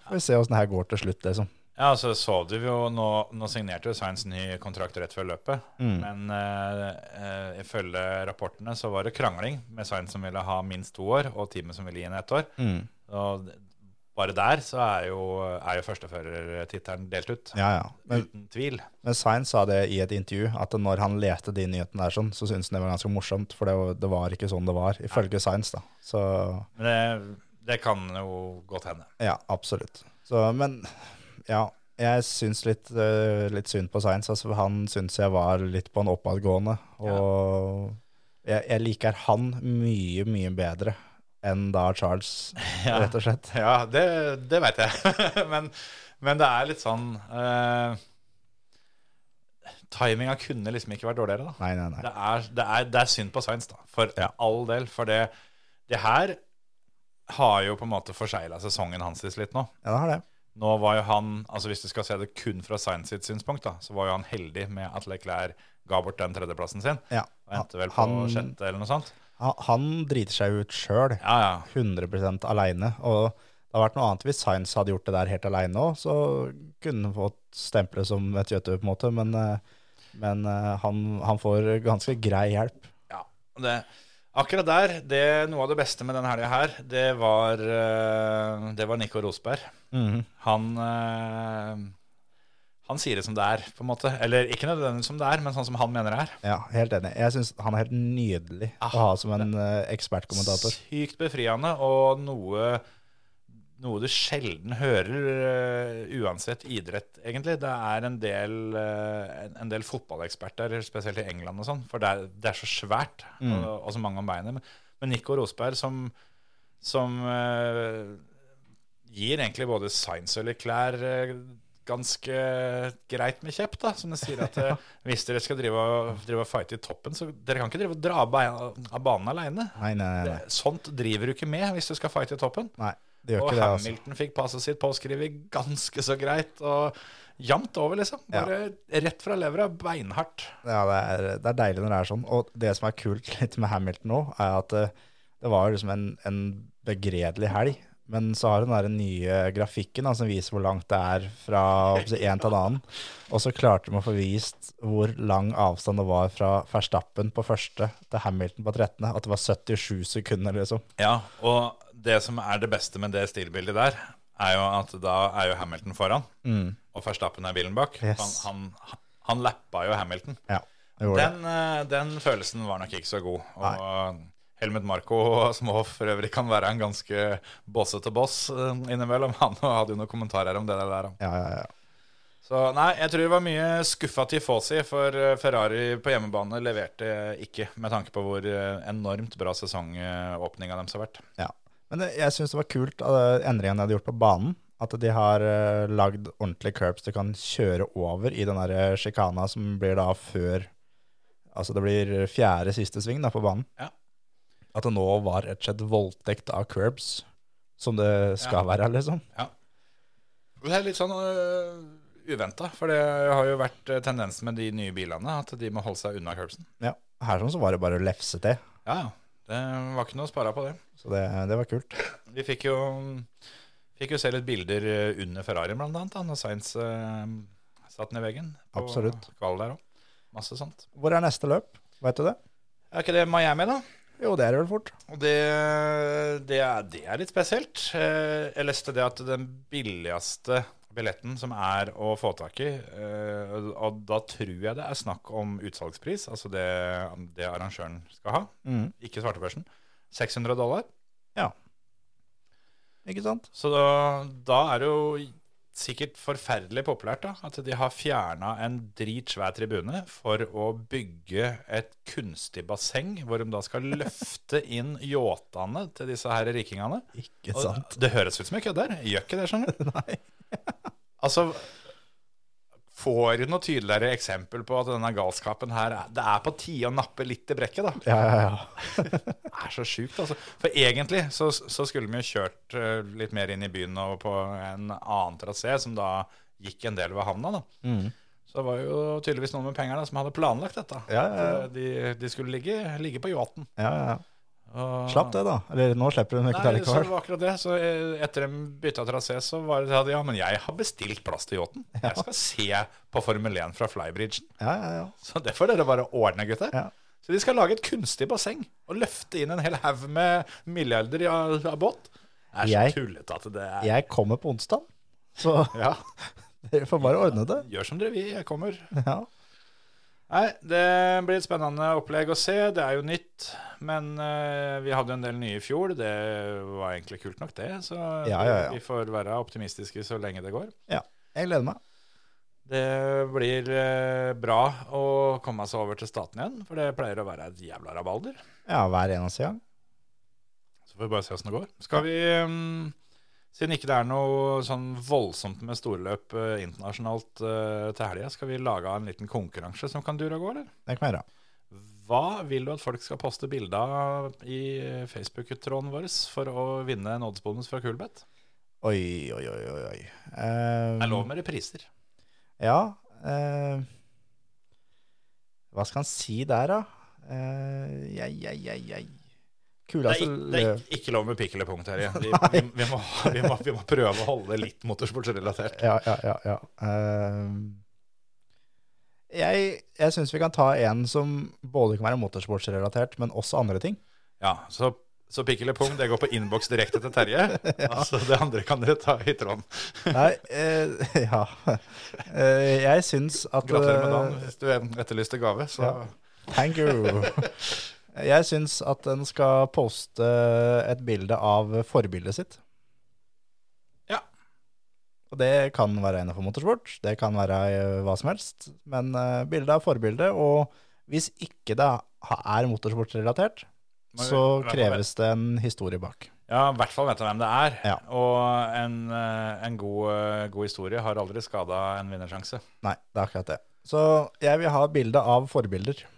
Speaker 3: får vi se åssen det her går til slutt, liksom.
Speaker 2: Ja, altså så du jo, Nå, nå signerte jo Sainz ny kontrakt rett før løpet.
Speaker 3: Mm.
Speaker 2: Men eh, eh, ifølge rapportene så var det krangling med Sainz som ville ha minst to år, og teamet som ville gi henne ett år.
Speaker 3: Mm.
Speaker 2: Og d- bare der så er jo, er jo førsteførertittelen delt ut.
Speaker 3: Ja, ja. Men,
Speaker 2: Uten tvil.
Speaker 3: Men Sainz sa det i et intervju, at når han leste de nyhetene der, sånn, så syntes han det var ganske morsomt, for det var, det var ikke sånn det var, ifølge Sainz. da. Så
Speaker 2: Men det, det kan jo godt hende.
Speaker 3: ja, absolutt. Så, men ja, jeg syns litt, eh, litt synd på Sainz. Altså, for han syns jeg var litt på en oppadgående, og jeg, jeg liker han mye, mye bedre enn da Charles,
Speaker 2: (laughs) Ja.
Speaker 3: rett og slett.
Speaker 2: Ja, det, det veit jeg. (laughs) men, men det er litt sånn uh, Timinga kunne liksom ikke vært dårligere, da.
Speaker 3: Nei, nei, nei.
Speaker 2: Det er, det, er, det er synd på Sainz, da. For all del. For det, det her har jo på en måte forsegla sesongen hans litt nå.
Speaker 3: Ja, det har det.
Speaker 2: Nå var jo han, altså Hvis du skal se det kun fra Sainz sitt synspunkt, da, så var jo han heldig med at Leclerc ga bort den tredjeplassen sin.
Speaker 3: Ja.
Speaker 2: Og endte vel på
Speaker 3: Han-
Speaker 2: sjette eller noe sånt.
Speaker 3: Han, han driter seg ut sjøl.
Speaker 2: Ja, ja.
Speaker 3: 100 aleine. Og det hadde vært noe annet hvis Sainz hadde gjort det der helt aleine òg, så kunne han fått stemple som et kjøttøy, på en måte. Men, eh, men eh, han, han får ganske grei hjelp.
Speaker 2: Ja, det, akkurat der, det, noe av det beste med denne helga her, det var, eh, det var Nico Rosberg. Han eh, han sier det som det er, på en måte. Eller ikke nødvendigvis som det er, men sånn som han mener det er.
Speaker 3: Ja, helt enig. Jeg syns han er helt nydelig å ha som en eh, ekspertkommentator.
Speaker 2: Sykt befriende, og noe, noe du sjelden hører eh, uansett idrett, egentlig. Det er en del, eh, en- en del fotballeksperter, spesielt i England og sånn, for det er, det er så svært, og, og så mange om beinet. Men- Men Nico Rosberg, som, som eh, gir egentlig både Sainz og Leclerc eh, ganske greit med kjepp, da. Som de sier at eh, hvis dere skal drive og, drive og fighte i toppen, så dere kan ikke drive og dra av beina- av banen aleine.
Speaker 3: Nei, nei, nei. nei.
Speaker 2: Det- Sånt driver du ikke med hvis du skal fighte i toppen.
Speaker 3: nei det gjør
Speaker 2: Og
Speaker 3: ikke det, altså.
Speaker 2: Hamilton fikk passet sitt påskrevet ganske så greit. Og jevnt over, liksom. Bare rett fra levra, beinhardt.
Speaker 3: Ja, det er, det er deilig når det er sånn. Og det som er kult (laughs) litt med Hamilton nå, er at eh, det var jo liksom en, en begredelig helg. Men så har hun den nye grafikken da, som viser hvor langt det er fra altså, en til en annen. Og så klarte de å få vist hvor lang avstand det var fra Verstappen på første til Hamilton på 13. At det var 77 sekunder, liksom.
Speaker 2: Ja, og det som er det beste med det stilbildet der, er jo at da er jo Hamilton foran, og Verstappen er bilen bak.
Speaker 3: Mm. Yes.
Speaker 2: Han, han, han lappa jo Hamilton.
Speaker 3: Ja, det gjorde det.
Speaker 2: Den, eh, den følelsen var nok ikke så god. Og Helmut Marko Smaav for øvrig kan være en ganske bossete boss eh, innimellom. Han hadde jo noen kommentarer om det der. han.
Speaker 3: Ja, ja, ja.
Speaker 2: Så nei, jeg tror det var mye skuffa Tifosi, for eh, Ferrari på hjemmebane leverte ikke, med tanke på hvor eh, enormt bra sesongåpninga deres har vært.
Speaker 3: Ja. Men det, jeg syns det var kult av det endringen de hadde gjort på banen. At de har eh, lagd ordentlige curbs du kan kjøre over i den der eh, sjikana som blir da før Altså det blir fjerde siste sving da på banen.
Speaker 2: Ja.
Speaker 3: At det nå var rett og slett voldtekt av curbs, som det skal være, liksom.
Speaker 2: Det er litt sånn uh, uventa, for det har jo vært eh, tendensen med de nye bilene at de må holde seg unna curbsen.
Speaker 3: Ja. Her sånn så var det bare å lefse til.
Speaker 2: Ja, ja. Det var ikke noe å spare på det.
Speaker 3: Så det, det var kult.
Speaker 2: Vi fikk jo, fikk jo se litt bilder eh, under Ferrarien, blant annet, da når Sainz eh, satt ned i veggen. På
Speaker 3: Absolutt.
Speaker 2: Kvall der òg. Masse sånt.
Speaker 3: Hvor er neste løp? Vet du det?
Speaker 2: Er ikke det Miami, da?
Speaker 3: Jo, det er det vel fort.
Speaker 2: Og det, det, er, det er litt spesielt. Eh, Jeg leste det at den billigste billetten som er å få tak i, eh, og- og da tror jeg det er snakk om utsalgspris, altså det, det arrangøren skal ha,
Speaker 3: Mhm.
Speaker 2: ikke svartebørsen, 600 dollar.
Speaker 3: Ikke sant?
Speaker 2: Så da, da er det jo sikkert forferdelig populært da, at de har fjerna en dritsvær tribune for å bygge et kunstig basseng, hvor de da skal (laughs) løfte inn yachtene til disse her rikingene.
Speaker 3: Ikke
Speaker 2: Og
Speaker 3: sant?
Speaker 2: Det høres ut som jeg kødder. Gjør ikke det, skjønner
Speaker 3: (laughs)
Speaker 2: du? Nei. (laughs) altså, får du noe tydeligere eksempel på at denne galskapen her er- Det er på tide å nappe litt i brekket, da.
Speaker 3: Ja, ja, ja.
Speaker 2: Det er så sjukt, altså. For egentlig så, så skulle vi jo kjørt eh, litt mer inn i byen og på en annen trasé, som da gikk en del ved havna, da.
Speaker 3: Mm.
Speaker 2: Så det var jo tydeligvis noen med penger da, som hadde planlagt dette.
Speaker 3: Ja, ja, ja.
Speaker 2: At, eh, De, de skulle ligge, ligge på yachten.
Speaker 3: ja, ja.
Speaker 2: Og-
Speaker 3: Slapp det, da. Eller nå slipper hun
Speaker 2: Nei,
Speaker 3: ikke
Speaker 2: så
Speaker 3: ta
Speaker 2: det
Speaker 3: likevel.
Speaker 2: var akkurat det. Så eh, etter de bytta trasé, så var det det at ja, men jeg har bestilt plass til yachten. Jeg skal se på Formel 1 fra Flybridgen. (laughs)
Speaker 3: Ja, ja, ja.
Speaker 2: Så det får dere bare ordne, gutter.
Speaker 3: Ja.
Speaker 2: Så de skal lage et kunstig basseng og løfte inn en hel haug med milliarder av, av båt. Det er så
Speaker 3: Jeg-
Speaker 2: tullete at det er
Speaker 3: Jeg kommer på onsdag, så (laughs)
Speaker 2: Ja,
Speaker 3: dere får bare ordne det.
Speaker 2: gjør som dere vil, jeg kommer.
Speaker 3: Ja.
Speaker 2: Nei, det blir et spennende opplegg å se. Det er jo nytt. Men eh, vi hadde en del nye i fjor. Det var egentlig kult nok, det. Så
Speaker 3: Ja, ja, ja.
Speaker 2: vi får være optimistiske så lenge det går.
Speaker 3: ja. Jeg gleder meg.
Speaker 2: Det blir eh, bra å komme seg over til staten igjen, for det pleier å være et jævla rabalder.
Speaker 3: Ja, hver eneste gang.
Speaker 2: Så får vi bare se åssen det går. Skal vi, ehm, siden ikke det er noe sånn voldsomt med storløp eh, internasjonalt eh, til helga, skal vi lage en liten konkurranse som kan dure og gå, eller?
Speaker 3: Det kan vi gjøre.
Speaker 2: Hva vil du at folk skal poste bilde av i Facebook-tråden vår for å vinne en oddsbonus fra Kulbeth?
Speaker 3: Oi, oi, oi, oi. oi. Eh,
Speaker 2: Det er lov med repriser.
Speaker 3: Ja. eh, hva skal han si der, da? Eh, jeg, jeg, jeg, jeg.
Speaker 2: Det er,
Speaker 3: Kuleste
Speaker 2: ikke, det er
Speaker 3: løp
Speaker 2: ikke- ikke lov med pikk eller punkt, (laughs) Terje. Vi, vi, vi, må, vi, må, vi må prøve å holde det litt motorsportsrelatert.
Speaker 3: Ja, ja, ja. ja. Eh, jeg jeg syns vi kan ta en som både kan være motorsportsrelatert, men også andre ting.
Speaker 2: Ja, så, så pikk eller pung, det går på innboks direkte til
Speaker 3: (laughs)
Speaker 2: Terje. altså, det andre kan dere ta i tråden.
Speaker 3: Nei, eh, (laughs) ja. Eh, jeg syns at
Speaker 2: Gratulerer med dagen hvis du etterlyste gave. Så.
Speaker 3: Ja. Thank you.
Speaker 2: (laughs)
Speaker 3: Jeg syns at en skal poste et bilde av forbildet sitt.
Speaker 2: Ja.
Speaker 3: Og det kan være innenfor motorsport, det kan være eh, hva som helst. Men eh, bilde av forbildet, og hvis ikke det ha- er motorsportrelatert,
Speaker 2: Må vi-
Speaker 3: så
Speaker 2: i hvert fall
Speaker 3: kreves det en historie bak.
Speaker 2: Ja, i hvert fall vet du hvem det er.
Speaker 3: Ja.
Speaker 2: Og en, eh, en god, eh, god historie har aldri skada en vinnersjanse.
Speaker 3: Nei, det er akkurat det. Så jeg vil ha bilde av forbilder,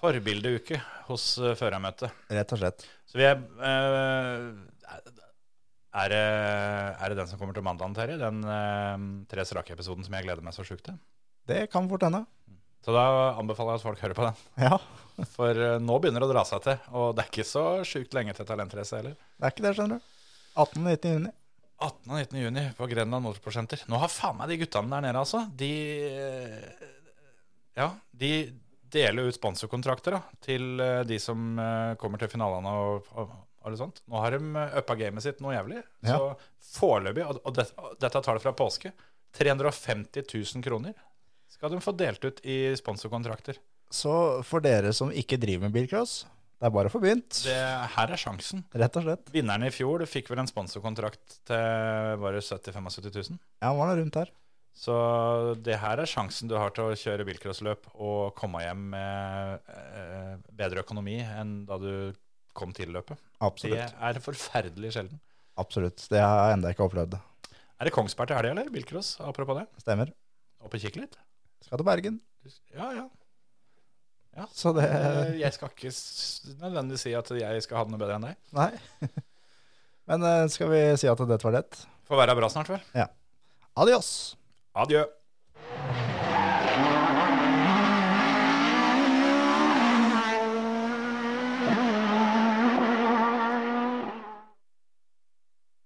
Speaker 2: Forbildeuke hos eh, førermøtet.
Speaker 3: rett og slett.
Speaker 2: Så vi er eh, er, det, er det den som kommer til mandagen, Terje? Den eh, Tre strake-episoden som jeg gleder meg så sjukt til?
Speaker 3: Det kan fort hende.
Speaker 2: Så da anbefaler jeg at folk hører på den.
Speaker 3: Ja,
Speaker 2: For eh, nå begynner det å dra seg til, og det er ikke så sjukt lenge til talentrace heller.
Speaker 3: det er ikke det, skjønner du. 18-19 juni.
Speaker 2: 18. og 19. juni på Grenland Motorsportsenter. Nå har faen meg de guttene der nede, altså. De eh, Ja, de deler ut sponsorkontrakter da, til eh, de som eh, kommer til finalene og, og, og litt sånt. Nå har de eh, uppa gamet sitt noe jævlig.
Speaker 3: Ja.
Speaker 2: Så foreløpig, og, og, det, og dette tar det fra påske, 350 000 kroner skal de få delt ut i sponsorkontrakter.
Speaker 3: Så for dere som ikke driver med bilcross, det er bare for begynt,
Speaker 2: Det, her er sjansen.
Speaker 3: rett og slett.
Speaker 2: Vinneren i fjor fikk vel en sponsorkontrakt til bare 70 000-75 000.
Speaker 3: Ja, var det rundt her?
Speaker 2: Så det her er sjansen du har til å kjøre bilcrossløp og komme hjem med eh, bedre økonomi enn da du kom til løpet. Det
Speaker 3: Absolutt.
Speaker 2: er forferdelig sjelden.
Speaker 3: Absolutt. Det har jeg enda ikke opplevd.
Speaker 2: Er det Kongsberg til helga, eller? Bilcross, apropos det.
Speaker 3: Stemmer.
Speaker 2: Opp og kikke litt?
Speaker 3: Skal til Bergen.
Speaker 2: Ja, ja.
Speaker 3: Så det
Speaker 2: (laughs) Eh, Jeg skal ikke s- nødvendigvis si at jeg skal ha det noe bedre enn deg.
Speaker 3: Nei. (laughs) Men eh, skal vi si at dette var det?
Speaker 2: Får være bra snart, vel.
Speaker 3: Adios.
Speaker 2: Adjø.